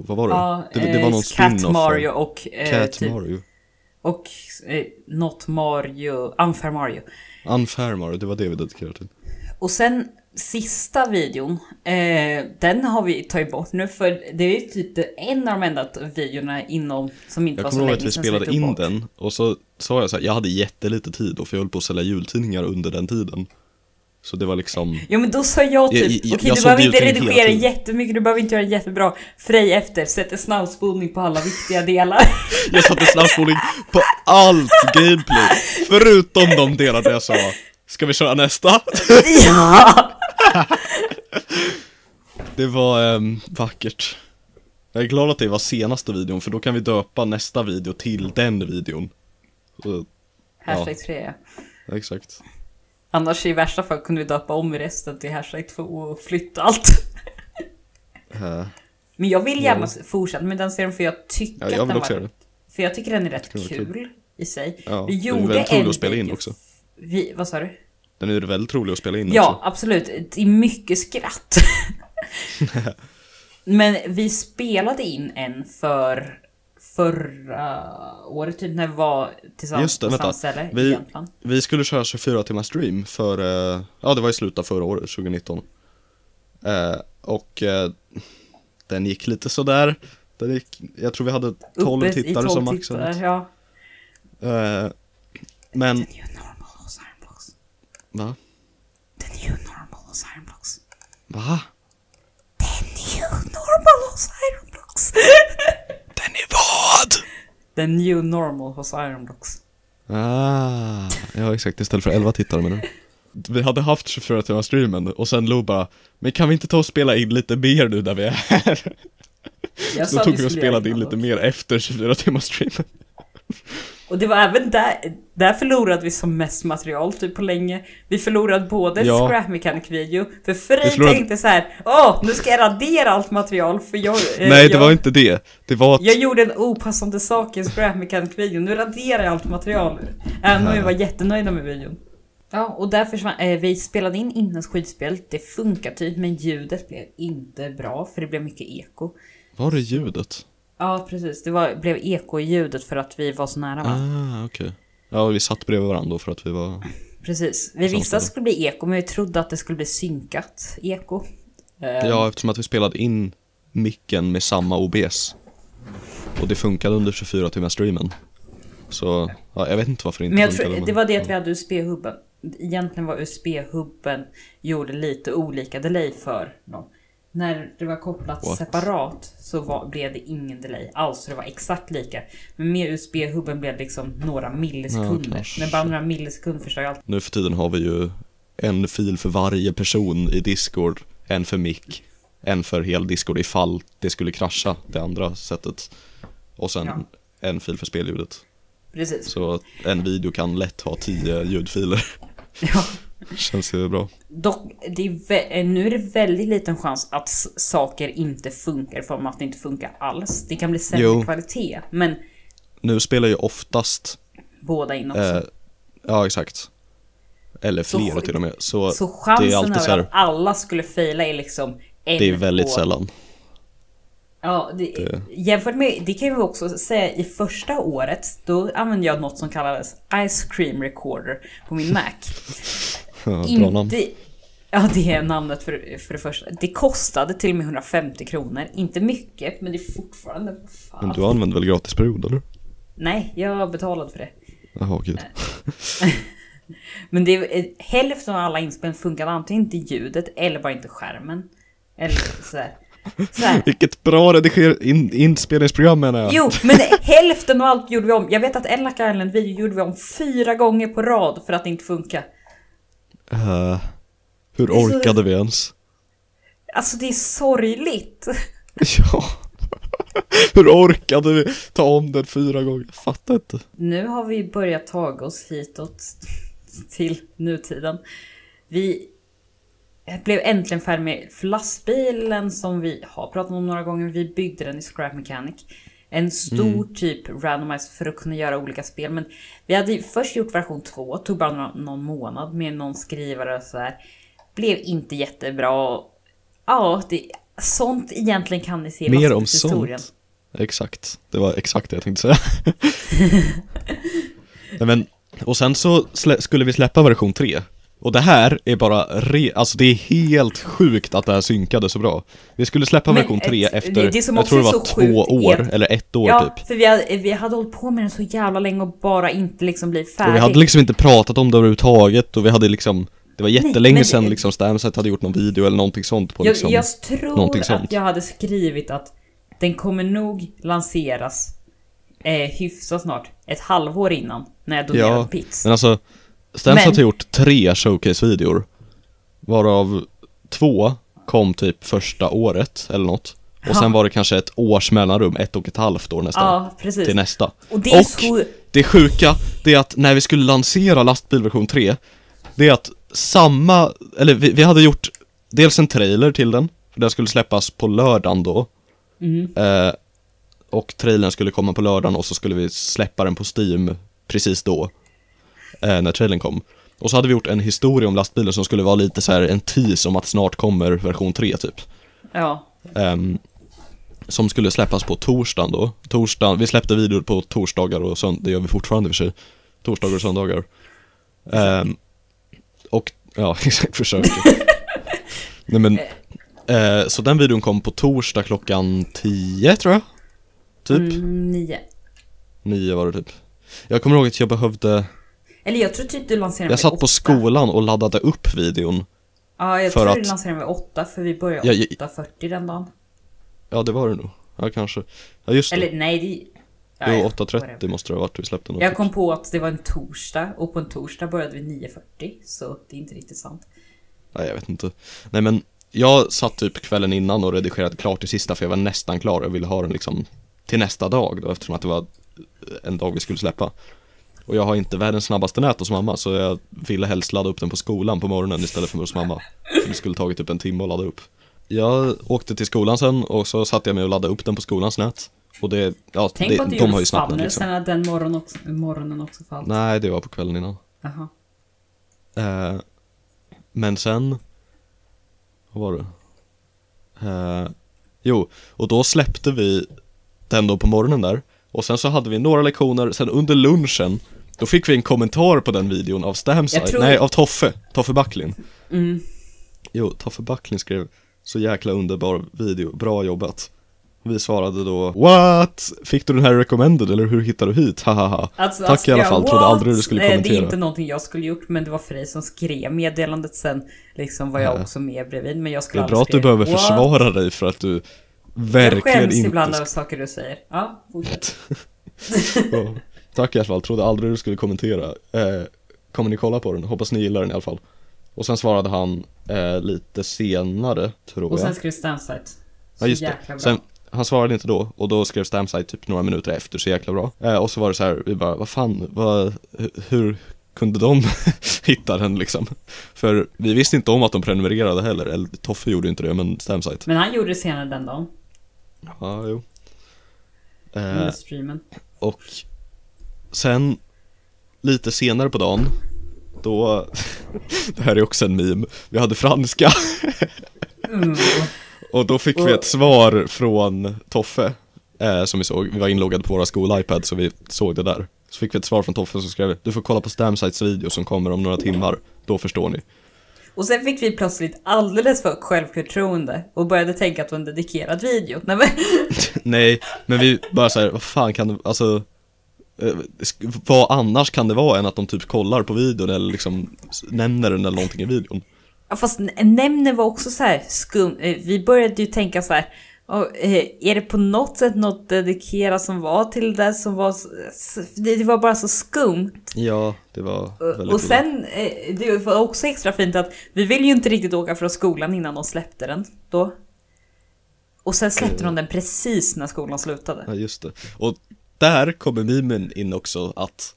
[SPEAKER 2] vad var det? det, det var
[SPEAKER 1] eh,
[SPEAKER 2] någon
[SPEAKER 1] Cat
[SPEAKER 2] spin-off av-
[SPEAKER 1] Mario och... Eh,
[SPEAKER 2] Cat
[SPEAKER 1] typ,
[SPEAKER 2] Mario
[SPEAKER 1] Och eh, något Mario, Unfair Mario.
[SPEAKER 2] Unfair Mario, det var det vi dedikerade till
[SPEAKER 1] Och sen sista videon, eh, den har vi tagit bort nu för det är ju typ det- en av de enda videorna inom som inte
[SPEAKER 2] Jag
[SPEAKER 1] var så
[SPEAKER 2] kommer
[SPEAKER 1] länge
[SPEAKER 2] ihåg att vi
[SPEAKER 1] sedan
[SPEAKER 2] spelade
[SPEAKER 1] som vi tog
[SPEAKER 2] in
[SPEAKER 1] bort.
[SPEAKER 2] den och så sa jag så här, jag hade jättelite tid och för jag höll på att sälja jultidningar under den tiden. Så det
[SPEAKER 1] (laughs)
[SPEAKER 2] var liksom,
[SPEAKER 1] Jo men då sa jag
[SPEAKER 2] Jag- jag-
[SPEAKER 1] typ, okej
[SPEAKER 2] jag
[SPEAKER 1] du
[SPEAKER 2] såg
[SPEAKER 1] behöver inte
[SPEAKER 2] det ut hela
[SPEAKER 1] redigera
[SPEAKER 2] tiden.
[SPEAKER 1] jättemycket, du behöver inte göra det jättebra. Frej efter, sätter snabbspolning på alla viktiga delar.
[SPEAKER 2] jag satte snabbspolning på allt gameplay. Förutom de delar där jag sa, ska vi
[SPEAKER 1] (laughs)
[SPEAKER 2] köra nästa?
[SPEAKER 1] ja!
[SPEAKER 2] Det var ehm, vackert. Jag är glad att det var senaste videon för då kan vi döpa nästa video till den videon. Så,
[SPEAKER 1] Hashtag 3 ja.
[SPEAKER 2] exakt.
[SPEAKER 1] Annars i värsta fall kunde vi döpa om resten till hashtag 2 och flytta allt.
[SPEAKER 2] Eh,
[SPEAKER 1] Men jag vill gärna
[SPEAKER 2] Ja.
[SPEAKER 1] fortsätta med den serien för jag tycker
[SPEAKER 2] ja, jag
[SPEAKER 1] att
[SPEAKER 2] vill
[SPEAKER 1] den
[SPEAKER 2] också
[SPEAKER 1] var...
[SPEAKER 2] göra det.
[SPEAKER 1] För jag tycker den är rätt
[SPEAKER 2] Det skulle
[SPEAKER 1] kul,
[SPEAKER 2] vara
[SPEAKER 1] i sig.
[SPEAKER 2] Ja, det är väldigt roligt att spela in
[SPEAKER 1] video-
[SPEAKER 2] också.
[SPEAKER 1] Vi, vad sa du?
[SPEAKER 2] Den är väldigt rolig att spela in
[SPEAKER 1] Ja,
[SPEAKER 2] också.
[SPEAKER 1] absolut. Det är mycket
[SPEAKER 2] (laughs)
[SPEAKER 1] skratt. Men vi spelade in en för förra året typ, när vi var tillsammans
[SPEAKER 2] Just det,
[SPEAKER 1] på samma
[SPEAKER 2] vänta.
[SPEAKER 1] ställe i
[SPEAKER 2] Vi-
[SPEAKER 1] Jämtland.
[SPEAKER 2] Vi skulle köra 24 timmar stream för, eh, ja det var i slutet av förra året, 2019. Eh, och eh, den gick lite sådär. Den gick, jag tror vi hade 12
[SPEAKER 1] Uppe i
[SPEAKER 2] tittare
[SPEAKER 1] 12
[SPEAKER 2] som max.
[SPEAKER 1] tittare,
[SPEAKER 2] eller något.
[SPEAKER 1] Ja.
[SPEAKER 2] Eh, men,
[SPEAKER 1] Den är ju normal hos Ironbox.
[SPEAKER 2] va?
[SPEAKER 1] Den är ju normal hos Ironbox.
[SPEAKER 2] Va?
[SPEAKER 1] Den är ju normal hos Ironbox.
[SPEAKER 2] Den är vad?
[SPEAKER 1] Den är ju normal hos Ironbox.
[SPEAKER 2] Ah, ja exakt, istället för 11 tittare menar du? Vi hade haft 24 timmar streamen och sen Lo bara, men kan vi inte ta och spela in lite mer nu där vi är här?
[SPEAKER 1] Jag sa
[SPEAKER 2] Så då
[SPEAKER 1] att
[SPEAKER 2] tog vi och
[SPEAKER 1] skulle göra
[SPEAKER 2] spelade in
[SPEAKER 1] innan
[SPEAKER 2] lite
[SPEAKER 1] dock.
[SPEAKER 2] mer efter 24 timmar streamen.
[SPEAKER 1] Och det var även där, där förlorade vi som mest material typ på länge. Vi förlorade både
[SPEAKER 2] Ja.
[SPEAKER 1] Scrap Mechanic video, för Frej
[SPEAKER 2] Vi förlorade-
[SPEAKER 1] tänkte så här, åh nu ska jag radera allt material för jag... eh,
[SPEAKER 2] Nej, det
[SPEAKER 1] jag,
[SPEAKER 2] var inte det. Det var att
[SPEAKER 1] Jag gjorde en opassande sak i Scrap Mechanic video, nu raderar jag allt material. Även om vi var jättenöjda med videon. Ja, och därför så, eh, vi spelade in innan skidspel, det funkar typ men ljudet blev inte bra för det blev mycket eko.
[SPEAKER 2] Var det ljudet?
[SPEAKER 1] Ja precis, det var, blev eko i ljudet för att vi var så nära varandra.
[SPEAKER 2] Ah, okej. Ja, vi satt bredvid varandra då för att vi var...
[SPEAKER 1] Precis. Vi
[SPEAKER 2] Som
[SPEAKER 1] visste att det
[SPEAKER 2] skulle-
[SPEAKER 1] skulle bli eko, men vi trodde att det skulle bli synkat eko. Eh,
[SPEAKER 2] Ja, eftersom att vi spelade in micken med samma OBS. Och det funkade under 24 timmar streamen. Så, ja, jag vet inte varför det inte
[SPEAKER 1] men jag
[SPEAKER 2] funkade.
[SPEAKER 1] tror, det var det att vi hade USB-hubben. Egentligen var USB-hubben gjorde lite olika delay för dem. När det var kopplat
[SPEAKER 2] What?
[SPEAKER 1] separat så var, blev det ingen delay alls, så det var exakt lika. Men med USB-hubben blev det liksom några
[SPEAKER 2] Ja,
[SPEAKER 1] millisekunder.
[SPEAKER 2] kanske.
[SPEAKER 1] men bara några millisekunder förstör ju allt.
[SPEAKER 2] Nu för tiden har vi ju en fil för varje person i Discord, en för mick, en för hel Discord ifall det skulle krascha det andra sättet. Och sen
[SPEAKER 1] Ja.
[SPEAKER 2] en fil för spelljudet.
[SPEAKER 1] Precis.
[SPEAKER 2] Så en video kan lätt ha 10 ljudfiler. (laughs)
[SPEAKER 1] Ja.
[SPEAKER 2] Känns ju bra.
[SPEAKER 1] Dock, det är vä- eh, nu är det väldigt liten chans att s- saker inte funkar för att det inte funkar alls. Det kan bli sämre
[SPEAKER 2] Jo.
[SPEAKER 1] kvalitet, men
[SPEAKER 2] Nu spelar ju oftast
[SPEAKER 1] båda in också.
[SPEAKER 2] eh, Ja, exakt. Eller
[SPEAKER 1] Alltså. Så
[SPEAKER 2] flera
[SPEAKER 1] sjukt.
[SPEAKER 2] till och med. Så,
[SPEAKER 1] Så
[SPEAKER 2] det är
[SPEAKER 1] chansen
[SPEAKER 2] alltid så
[SPEAKER 1] över att
[SPEAKER 2] här,
[SPEAKER 1] alla skulle fejla är liksom en
[SPEAKER 2] det är väldigt
[SPEAKER 1] på-
[SPEAKER 2] sällan.
[SPEAKER 1] Ja, det,
[SPEAKER 2] Det-
[SPEAKER 1] Jämfört med, det kan vi också säga, i första året då använde jag något som kallades Ice Cream Recorder på
[SPEAKER 2] (laughs)
[SPEAKER 1] min Mac.
[SPEAKER 2] Ja, bra namn.
[SPEAKER 1] Inte, ja, det är namnet för, för det första. Det kostade till och med 150 kronor. Inte mycket, men det är fortfarande... Fan.
[SPEAKER 2] Men du använder väl gratisperiod eller?
[SPEAKER 1] Nej, jag betalade för det.
[SPEAKER 2] Jaha, gud.
[SPEAKER 1] Eh, Men det är, eh, hälften av alla inspel funkade antingen inte ljudet eller bara inte skärmen. Eller sådär.
[SPEAKER 2] (laughs)
[SPEAKER 1] sådär.
[SPEAKER 2] Vilket bra rediger- in- inspelningsprogram menar jag.
[SPEAKER 1] Jo, men hälften av allt gjorde vi om. Jag vet att Ellac Island-video gjorde vi om fyra gånger på rad för att det inte funkar.
[SPEAKER 2] Eh, hur
[SPEAKER 1] Det är så-
[SPEAKER 2] orkade vi ens? (laughs)
[SPEAKER 1] Alltså det är sorgligt.
[SPEAKER 2] Ja. Hur orkade vi ta om den fyra gånger? Jag fattar inte.
[SPEAKER 1] Nu har vi börjat ta oss hitåt (laughs) till nutiden. Vi blev äntligen färdiga med för lastbilen som vi har pratat om några gånger. Vi byggde den i Scrap Mechanic. En stor
[SPEAKER 2] Mm.
[SPEAKER 1] typ randomizer för att kunna göra olika spel. Men vi hade ju först gjort version 2, tog bara någon, någon månad med någon skrivare och sådär. Blev inte jättebra. Ja, det, sånt egentligen kan ni se i
[SPEAKER 2] Mer om
[SPEAKER 1] lastbilshistorien.
[SPEAKER 2] sånt. Exakt. Det var exakt det jag
[SPEAKER 1] (laughs)
[SPEAKER 2] tänkte säga. Nej, men, och sen så slä- skulle vi släppa version 3. Och det här är bara re- alltså det är helt sjukt att det här synkade så bra. Vi skulle släppa
[SPEAKER 1] Men
[SPEAKER 2] version 3
[SPEAKER 1] ett-
[SPEAKER 2] efter,
[SPEAKER 1] det- det som
[SPEAKER 2] jag
[SPEAKER 1] också
[SPEAKER 2] tror det
[SPEAKER 1] är
[SPEAKER 2] var
[SPEAKER 1] så
[SPEAKER 2] två
[SPEAKER 1] sjukt är
[SPEAKER 2] år,
[SPEAKER 1] att-
[SPEAKER 2] eller ett år
[SPEAKER 1] Ja,
[SPEAKER 2] typ.
[SPEAKER 1] för vi hade, vi hade hållit på med den så jävla länge och bara inte liksom blivit färdig.
[SPEAKER 2] Och vi hade liksom inte pratat om det överhuvudtaget och vi hade liksom Det var jättelänge
[SPEAKER 1] men-
[SPEAKER 2] sedan liksom Stamset hade gjort någon video eller någonting sånt på
[SPEAKER 1] jag,
[SPEAKER 2] liksom
[SPEAKER 1] jag tror
[SPEAKER 2] någonting
[SPEAKER 1] att
[SPEAKER 2] sånt.
[SPEAKER 1] jag hade skrivit att den kommer nog lanseras eh, hyfsat snart. Ett halvår innan, när jag donerade
[SPEAKER 2] Ja,
[SPEAKER 1] Pix.
[SPEAKER 2] men alltså Stamset
[SPEAKER 1] Men-
[SPEAKER 2] har gjort tre showcase-videor Varav två kom typ första året eller något Och
[SPEAKER 1] Ja.
[SPEAKER 2] sen var det kanske ett års mellanrum, ett och ett halvt år nästan
[SPEAKER 1] Ja, precis.
[SPEAKER 2] alltså, Till nästa
[SPEAKER 1] Och det är
[SPEAKER 2] och
[SPEAKER 1] så-
[SPEAKER 2] det sjuka, det är att när vi skulle lansera lastbilversion 3 Det är att samma, eller vi, vi hade gjort dels en trailer till den För den skulle släppas på lördagen då eh, Och trailern skulle komma på lördagen och så skulle vi släppa den på Steam precis då eh, När trailern kom Och så hade vi gjort en historia om lastbilen som skulle vara lite så här en tease om att snart kommer version 3 typ
[SPEAKER 1] Ja,
[SPEAKER 2] Ehm, som skulle släppas på torsdagen då. Torsdagen, vi släppte videor på torsdagar och söndagar, det gör vi fortfarande i och för sig. Torsdagar och söndagar. Ehm, och, ja (laughs)
[SPEAKER 1] (laughs)
[SPEAKER 2] exakt, försöker. Nej men, eh, så den videon kom på torsdag klockan 10 tror jag. Typ,
[SPEAKER 1] mm, nio.
[SPEAKER 2] 9 var det typ. Jag kommer ihåg att jag behövde,
[SPEAKER 1] Eller jag tror typ du lanserade
[SPEAKER 2] jag
[SPEAKER 1] med
[SPEAKER 2] satt på
[SPEAKER 1] åtta.
[SPEAKER 2] skolan och laddade upp videon.
[SPEAKER 1] Ja, jag
[SPEAKER 2] för
[SPEAKER 1] tror
[SPEAKER 2] att-
[SPEAKER 1] du lanserade med åtta för vi började
[SPEAKER 2] Ja, jag-
[SPEAKER 1] 8.40 den dagen.
[SPEAKER 2] Ja det var det nog. Ja kanske. Ja just det.
[SPEAKER 1] Eller nej, det... Ja,
[SPEAKER 2] Jo,
[SPEAKER 1] ja,
[SPEAKER 2] 8.30
[SPEAKER 1] whatever.
[SPEAKER 2] måste det ha varit vi släppte något. typ.
[SPEAKER 1] Jag kom på att det var en torsdag och på en torsdag började vi 9.40 så det är inte riktigt sant.
[SPEAKER 2] Nej, jag vet inte. Nej, men jag satt typ kvällen innan och redigerade klart det sista för jag var nästan klar. Jag ville ha den liksom till nästa dag då eftersom att det var en dag vi skulle släppa. Och jag har inte världens snabbaste nät hos mamma så jag ville helst ladda upp den på skolan på morgonen istället för hos mamma. För det skulle tagit typ en timme att ladda upp. Jag åkte till skolan sen och så satte jag mig och laddade upp den på skolans nät. Och det, ja,
[SPEAKER 1] Tänk
[SPEAKER 2] det,
[SPEAKER 1] på att du
[SPEAKER 2] de har
[SPEAKER 1] gjorde
[SPEAKER 2] ju snabbnät
[SPEAKER 1] spannet
[SPEAKER 2] liksom.
[SPEAKER 1] sen att den morgon också, morgonen också fall.
[SPEAKER 2] Nej, det var på kvällen innan.
[SPEAKER 1] Jaha.
[SPEAKER 2] Eh, men sen... Vad var det? Eh, jo, och då släppte vi den då på morgonen där. Och sen så hade vi några lektioner, sen under lunchen då fick vi en kommentar på den videon av Stamside,
[SPEAKER 1] Jag tror-
[SPEAKER 2] nej av Toffe, Toffe Backlin.
[SPEAKER 1] Mm.
[SPEAKER 2] Jo, Toffe Backlin skrev så jäkla underbar video, bra jobbat. Vi svarade då What? Fick du den här recommended eller hur hittade du hit? Hahaha.
[SPEAKER 1] Alltså,
[SPEAKER 2] Tack
[SPEAKER 1] alltså,
[SPEAKER 2] i alla
[SPEAKER 1] jag-
[SPEAKER 2] fall, trodde
[SPEAKER 1] what?
[SPEAKER 2] aldrig du skulle
[SPEAKER 1] Eh, Det är
[SPEAKER 2] kommentera.
[SPEAKER 1] inte någonting jag skulle gjort men det var Frej som skrev meddelandet sen. Liksom var jag
[SPEAKER 2] Ja.
[SPEAKER 1] också med bredvid men jag
[SPEAKER 2] Det
[SPEAKER 1] skulle
[SPEAKER 2] är bra
[SPEAKER 1] aldrig
[SPEAKER 2] att du
[SPEAKER 1] skriva,
[SPEAKER 2] behöver
[SPEAKER 1] "What?"
[SPEAKER 2] försvara dig för att du
[SPEAKER 1] Jag
[SPEAKER 2] verkligen
[SPEAKER 1] skäms
[SPEAKER 2] inte
[SPEAKER 1] ibland
[SPEAKER 2] ska-
[SPEAKER 1] över saker du säger. Ja, fortsätt.
[SPEAKER 2] (laughs) Ja. Tack i alla fall, trodde aldrig du skulle kommentera. Eh, kommer ni kolla på den? Hoppas ni gillar den i alla fall. Och sen svarade han eh, lite senare, tror
[SPEAKER 1] Och
[SPEAKER 2] jag.
[SPEAKER 1] sen skrev Stamsite. Så
[SPEAKER 2] ja, just
[SPEAKER 1] jäkla
[SPEAKER 2] det.
[SPEAKER 1] bra.
[SPEAKER 2] Sen, han svarade inte då, och då skrev Stamside typ några minuter efter, så jäkla bra. Eh, och så var det så här, vi bara, vad fan, vad, hu- hur kunde de (laughs) hitta den liksom? För vi visste inte om att de prenumererade heller, eller Toffe gjorde ju inte det, men Stamside.
[SPEAKER 1] Men han gjorde det senare den dagen.
[SPEAKER 2] Ja, jo. Eh,
[SPEAKER 1] Mm. Under streamen.
[SPEAKER 2] Och sen lite senare på dagen, då, (laughs) det här är också en meme, vi hade franska (laughs)
[SPEAKER 1] Mm,
[SPEAKER 2] och då fick vi ett svar från Toffe eh, som vi såg, vi var inloggade på våra skol-iPad så vi såg det där. Så fick vi ett svar från Toffe som skrev du får kolla på Stamsites video som kommer om några timmar, då förstår ni. (laughs)
[SPEAKER 1] Och sen fick vi plötsligt alldeles för högt självförtroende och började tänka att det var en dedikerad video. Nej, men,
[SPEAKER 2] Nej, men vi bara såhär, vad fan kan det, alltså eh, sk- vad annars kan det vara än att de typ kollar på videon eller liksom s- nämner den eller någonting i videon?
[SPEAKER 1] Ja, fast n- nämnden var också så här skum. Eh, Vi började ju tänka så här. "Ja, eh, Är det på något sätt något dedikerat som var till det som var... s- s- Det det var bara så skumt.
[SPEAKER 2] Ja, det var väldigt
[SPEAKER 1] Och, och sen, eh, det var också extra fint att vi ville ju inte riktigt åka från skolan innan de släppte den då. Och sen släppte de den precis när skolan slutade.
[SPEAKER 2] Ja, just det. Och där kommer mimen in också att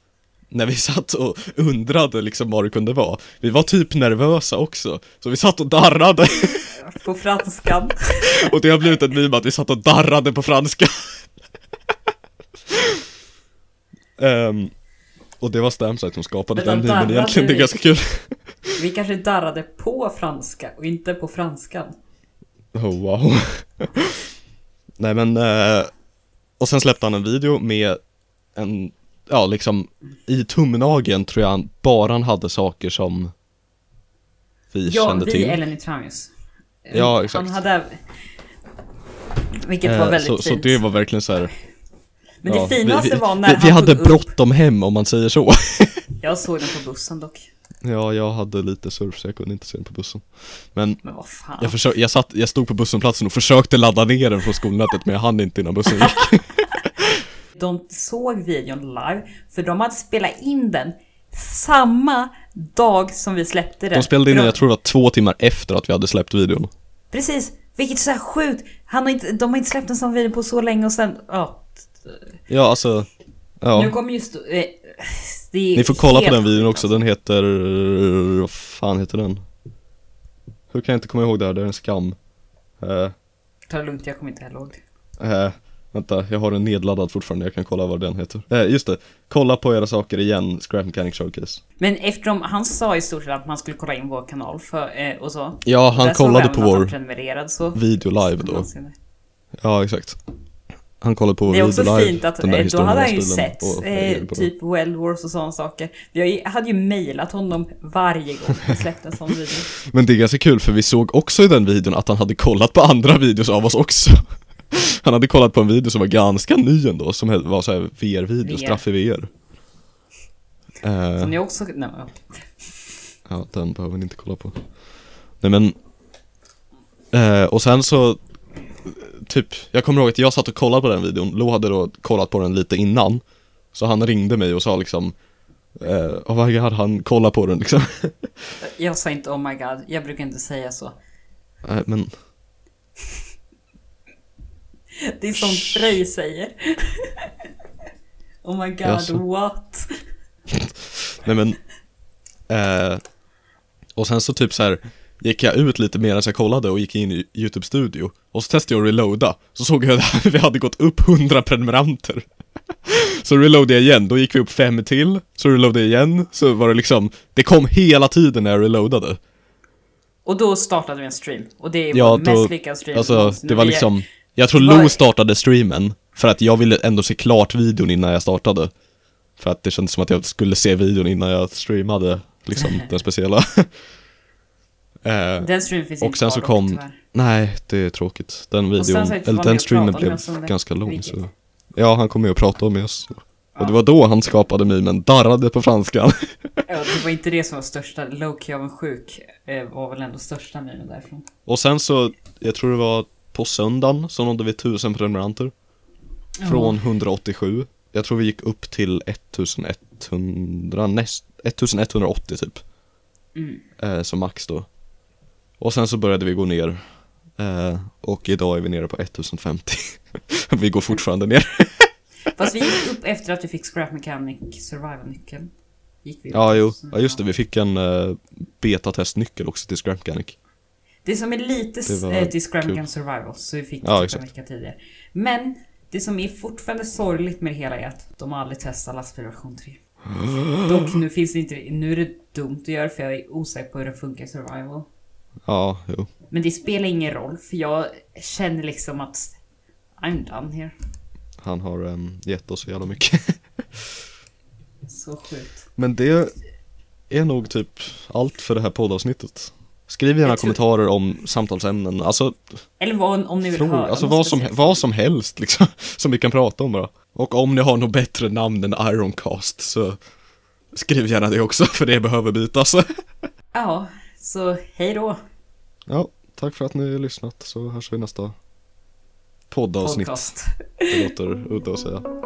[SPEAKER 2] när vi (laughs) satt och undrade liksom vad det kunde vara. Vi var typ nervösa också, så vi satt och darrade (laughs)
[SPEAKER 1] På franskan.
[SPEAKER 2] och det har blivit en meme att vi satt och darrade på franska. (laughs) Ehm, och det var Stamsite som skapade
[SPEAKER 1] Vänta,
[SPEAKER 2] den memen
[SPEAKER 1] darrade
[SPEAKER 2] egentligen, det är
[SPEAKER 1] vi?
[SPEAKER 2] ganska kul.
[SPEAKER 1] Vi kanske darrade på franska och inte på franskan.
[SPEAKER 2] Oh, wow. (laughs) Nej men, eh, och sen släppte han en video med en, ja liksom, i tumnageln tror jag han, bara han hade saker som vi
[SPEAKER 1] Ja,
[SPEAKER 2] kände
[SPEAKER 1] vi
[SPEAKER 2] till.
[SPEAKER 1] eller Nitramius.
[SPEAKER 2] Ja, exakt.
[SPEAKER 1] Han hade... Vilket var
[SPEAKER 2] Eh,
[SPEAKER 1] väldigt
[SPEAKER 2] så, så
[SPEAKER 1] fint.
[SPEAKER 2] det var verkligen så här.
[SPEAKER 1] Men
[SPEAKER 2] ja,
[SPEAKER 1] det finaste
[SPEAKER 2] vi, vi,
[SPEAKER 1] var när
[SPEAKER 2] vi,
[SPEAKER 1] han
[SPEAKER 2] vi hade
[SPEAKER 1] tog upp-
[SPEAKER 2] bråttom hem om man säger så. (laughs)
[SPEAKER 1] Jag såg den på bussen dock.
[SPEAKER 2] ja, jag hade lite surf så jag kunde inte se den på bussen. Men
[SPEAKER 1] Men vad fan.
[SPEAKER 2] jag, försö- jag, satt, jag stod på busshållplatsen och försökte ladda ner den från skolnätet men jag hann inte innan bussen
[SPEAKER 1] (laughs)
[SPEAKER 2] gick.
[SPEAKER 1] De såg videon live, för de hade spelat in den samma dag som vi släppte den.
[SPEAKER 2] De spelade in
[SPEAKER 1] För
[SPEAKER 2] den,
[SPEAKER 1] de-
[SPEAKER 2] jag tror det var två timmar efter att vi hade släppt videon.
[SPEAKER 1] Precis, vilket är så här sjukt. Han har inte, de har inte släppt en sån video på så länge och sen... Ja.
[SPEAKER 2] Ja, alltså,
[SPEAKER 1] Nu
[SPEAKER 2] ja.
[SPEAKER 1] kommer just... Eh, det är
[SPEAKER 2] Ni får kolla på
[SPEAKER 1] helt- alltså.
[SPEAKER 2] den videon också, den heter, vad fan heter den? Hur kan jag inte komma ihåg det här, det är en skam. Eh,
[SPEAKER 1] Ta det lugnt, jag kommer inte heller ihåg. det.
[SPEAKER 2] eh, vänta, jag har den nedladdad fortfarande, jag kan kolla vad den heter. Eh, just det, kolla på era saker igen, Scrap Mechanic Showcase.
[SPEAKER 1] Men eftersom han sa i stort sett att man skulle kolla in vår kanal för, eh, och så.
[SPEAKER 2] Ja, han
[SPEAKER 1] Där såg
[SPEAKER 2] kollade
[SPEAKER 1] även
[SPEAKER 2] på
[SPEAKER 1] att han
[SPEAKER 2] vår
[SPEAKER 1] prenumererade så.
[SPEAKER 2] video live då. Ja, exakt. Han kollade på vår
[SPEAKER 1] Det är
[SPEAKER 2] video
[SPEAKER 1] också
[SPEAKER 2] live.
[SPEAKER 1] fint att
[SPEAKER 2] den där
[SPEAKER 1] eh, då
[SPEAKER 2] historien
[SPEAKER 1] hade
[SPEAKER 2] om
[SPEAKER 1] han ju
[SPEAKER 2] stilen
[SPEAKER 1] sett
[SPEAKER 2] och-
[SPEAKER 1] eh, typ World Wars och sådana saker. Jag ju- hade ju mejlat honom varje gång
[SPEAKER 2] (laughs)
[SPEAKER 1] vi släppte en sån video.
[SPEAKER 2] Men det är ganska kul för vi såg också i den videon att han hade kollat på andra videos av oss också (laughs) Han hade kollat på en video som var ganska ny ändå, som he- var såhär VR-video,
[SPEAKER 1] VR.
[SPEAKER 2] straff i VR Eh,
[SPEAKER 1] Som ni också... Nej, ja.
[SPEAKER 2] Ja, den behöver ni inte kolla på Nej men eh, Och sen så Typ, jag kommer ihåg att jag satt och kollade på den videon, Lo hade då kollat på den lite innan Så han ringde mig och sa liksom eh, Oh my god, han kollar på den liksom (laughs)
[SPEAKER 1] Jag sa inte oh my god, jag brukar inte säga så.
[SPEAKER 2] Nej Eh, men
[SPEAKER 1] Det är sånt Frej säger. (laughs) oh my god,
[SPEAKER 2] Jaså?
[SPEAKER 1] what?
[SPEAKER 2] Nej men eh, Och sen så typ så här Gick jag ut lite mer än så jag kollade och gick in i YouTube studio Och så testade jag att reloada Så såg jag att (laughs) vi hade gått upp 100 prenumeranter (laughs) Så reloadade jag igen, då gick vi upp fem till Så reloadade jag igen, så var det liksom Det kom hela tiden när jag reloadade
[SPEAKER 1] Och då startade vi en stream. Och det är
[SPEAKER 2] Ja,
[SPEAKER 1] vår
[SPEAKER 2] då,
[SPEAKER 1] mest lyckade stream.
[SPEAKER 2] alltså
[SPEAKER 1] någonsin.
[SPEAKER 2] det var
[SPEAKER 1] Vi-
[SPEAKER 2] liksom Jag tror
[SPEAKER 1] det var-
[SPEAKER 2] Lo startade streamen För att jag ville ändå se klart videon innan jag startade För att det kändes som att jag skulle se videon innan jag streamade
[SPEAKER 1] (laughs)
[SPEAKER 2] Liksom den speciella (laughs) Eh,
[SPEAKER 1] Den streamen finns
[SPEAKER 2] Och
[SPEAKER 1] inte
[SPEAKER 2] sen
[SPEAKER 1] kvar
[SPEAKER 2] så
[SPEAKER 1] dock,
[SPEAKER 2] kom
[SPEAKER 1] tyvärr.
[SPEAKER 2] Nej, det är tråkigt Den
[SPEAKER 1] sen
[SPEAKER 2] videon,
[SPEAKER 1] så var
[SPEAKER 2] eller
[SPEAKER 1] han med
[SPEAKER 2] den
[SPEAKER 1] och
[SPEAKER 2] streamen
[SPEAKER 1] pratade
[SPEAKER 2] blev
[SPEAKER 1] med oss om det.
[SPEAKER 2] ganska lång så
[SPEAKER 1] Vilket-
[SPEAKER 2] Ja, han kom med och pratade med oss Och det var då han skapade memen, darrade på franskan (laughs)
[SPEAKER 1] Ja, det var inte det som var största. Loki av en sjuk eh, var väl ändå största memen därifrån.
[SPEAKER 2] Och sen så, jag tror det var på söndagen som nådde vi 1000 prenumeranter. Från 187. Jag tror vi gick upp till 1100, näst, 1180 typ.
[SPEAKER 1] Mm.
[SPEAKER 2] Eh, som max då. Och sen så började vi gå ner. Eh, och idag är vi nere på 1050. (laughs) vi går fortfarande ner.
[SPEAKER 1] (laughs) Fast vi gick upp efter att vi fick Scrap Mechanic Survival-nyckeln. Gick vi upp.
[SPEAKER 2] Ja, jo.
[SPEAKER 1] Så,
[SPEAKER 2] Ja, just det. Vi fick en eh, betatestnyckel också till Scrap Mechanic.
[SPEAKER 1] Det som är lite
[SPEAKER 2] Det var
[SPEAKER 1] eh, till Scrap
[SPEAKER 2] kul.
[SPEAKER 1] Mechanic Survival, så vi fick
[SPEAKER 2] Ja,
[SPEAKER 1] det typ en
[SPEAKER 2] exakt.
[SPEAKER 1] vecka tidigare.
[SPEAKER 2] (gasps)
[SPEAKER 1] Men det som är fortfarande sorgligt med det hela är att de har aldrig testat lastbilversion 3. Dock nu finns det inte, nu är det dumt att göra för jag är osäker på hur det funkar i survival.
[SPEAKER 2] Ja, jo.
[SPEAKER 1] Men det spelar ingen roll för jag känner liksom att I'm done here.
[SPEAKER 2] Han har um, gett oss så jävla mycket. (laughs)
[SPEAKER 1] Så sjukt.
[SPEAKER 2] Men det är nog typ allt för det här poddavsnittet. Skriv gärna
[SPEAKER 1] Jag tror-
[SPEAKER 2] kommentarer om samtalsämnen, alltså,
[SPEAKER 1] Eller vad, om ni vill
[SPEAKER 2] frågor,
[SPEAKER 1] höra
[SPEAKER 2] alltså
[SPEAKER 1] något
[SPEAKER 2] vad, som,
[SPEAKER 1] speciellt.
[SPEAKER 2] vad som helst liksom, (laughs) som vi kan prata om bara. Och om ni har något bättre namn än Ironcast så skriv gärna det också, (laughs) för det behöver bytas.
[SPEAKER 1] Ja, så hej då.
[SPEAKER 2] (laughs) Ja, tack för att ni har lyssnat, så hörs vi nästa poddavsnitt.
[SPEAKER 1] Podcast.
[SPEAKER 2] Det låter udda att säga.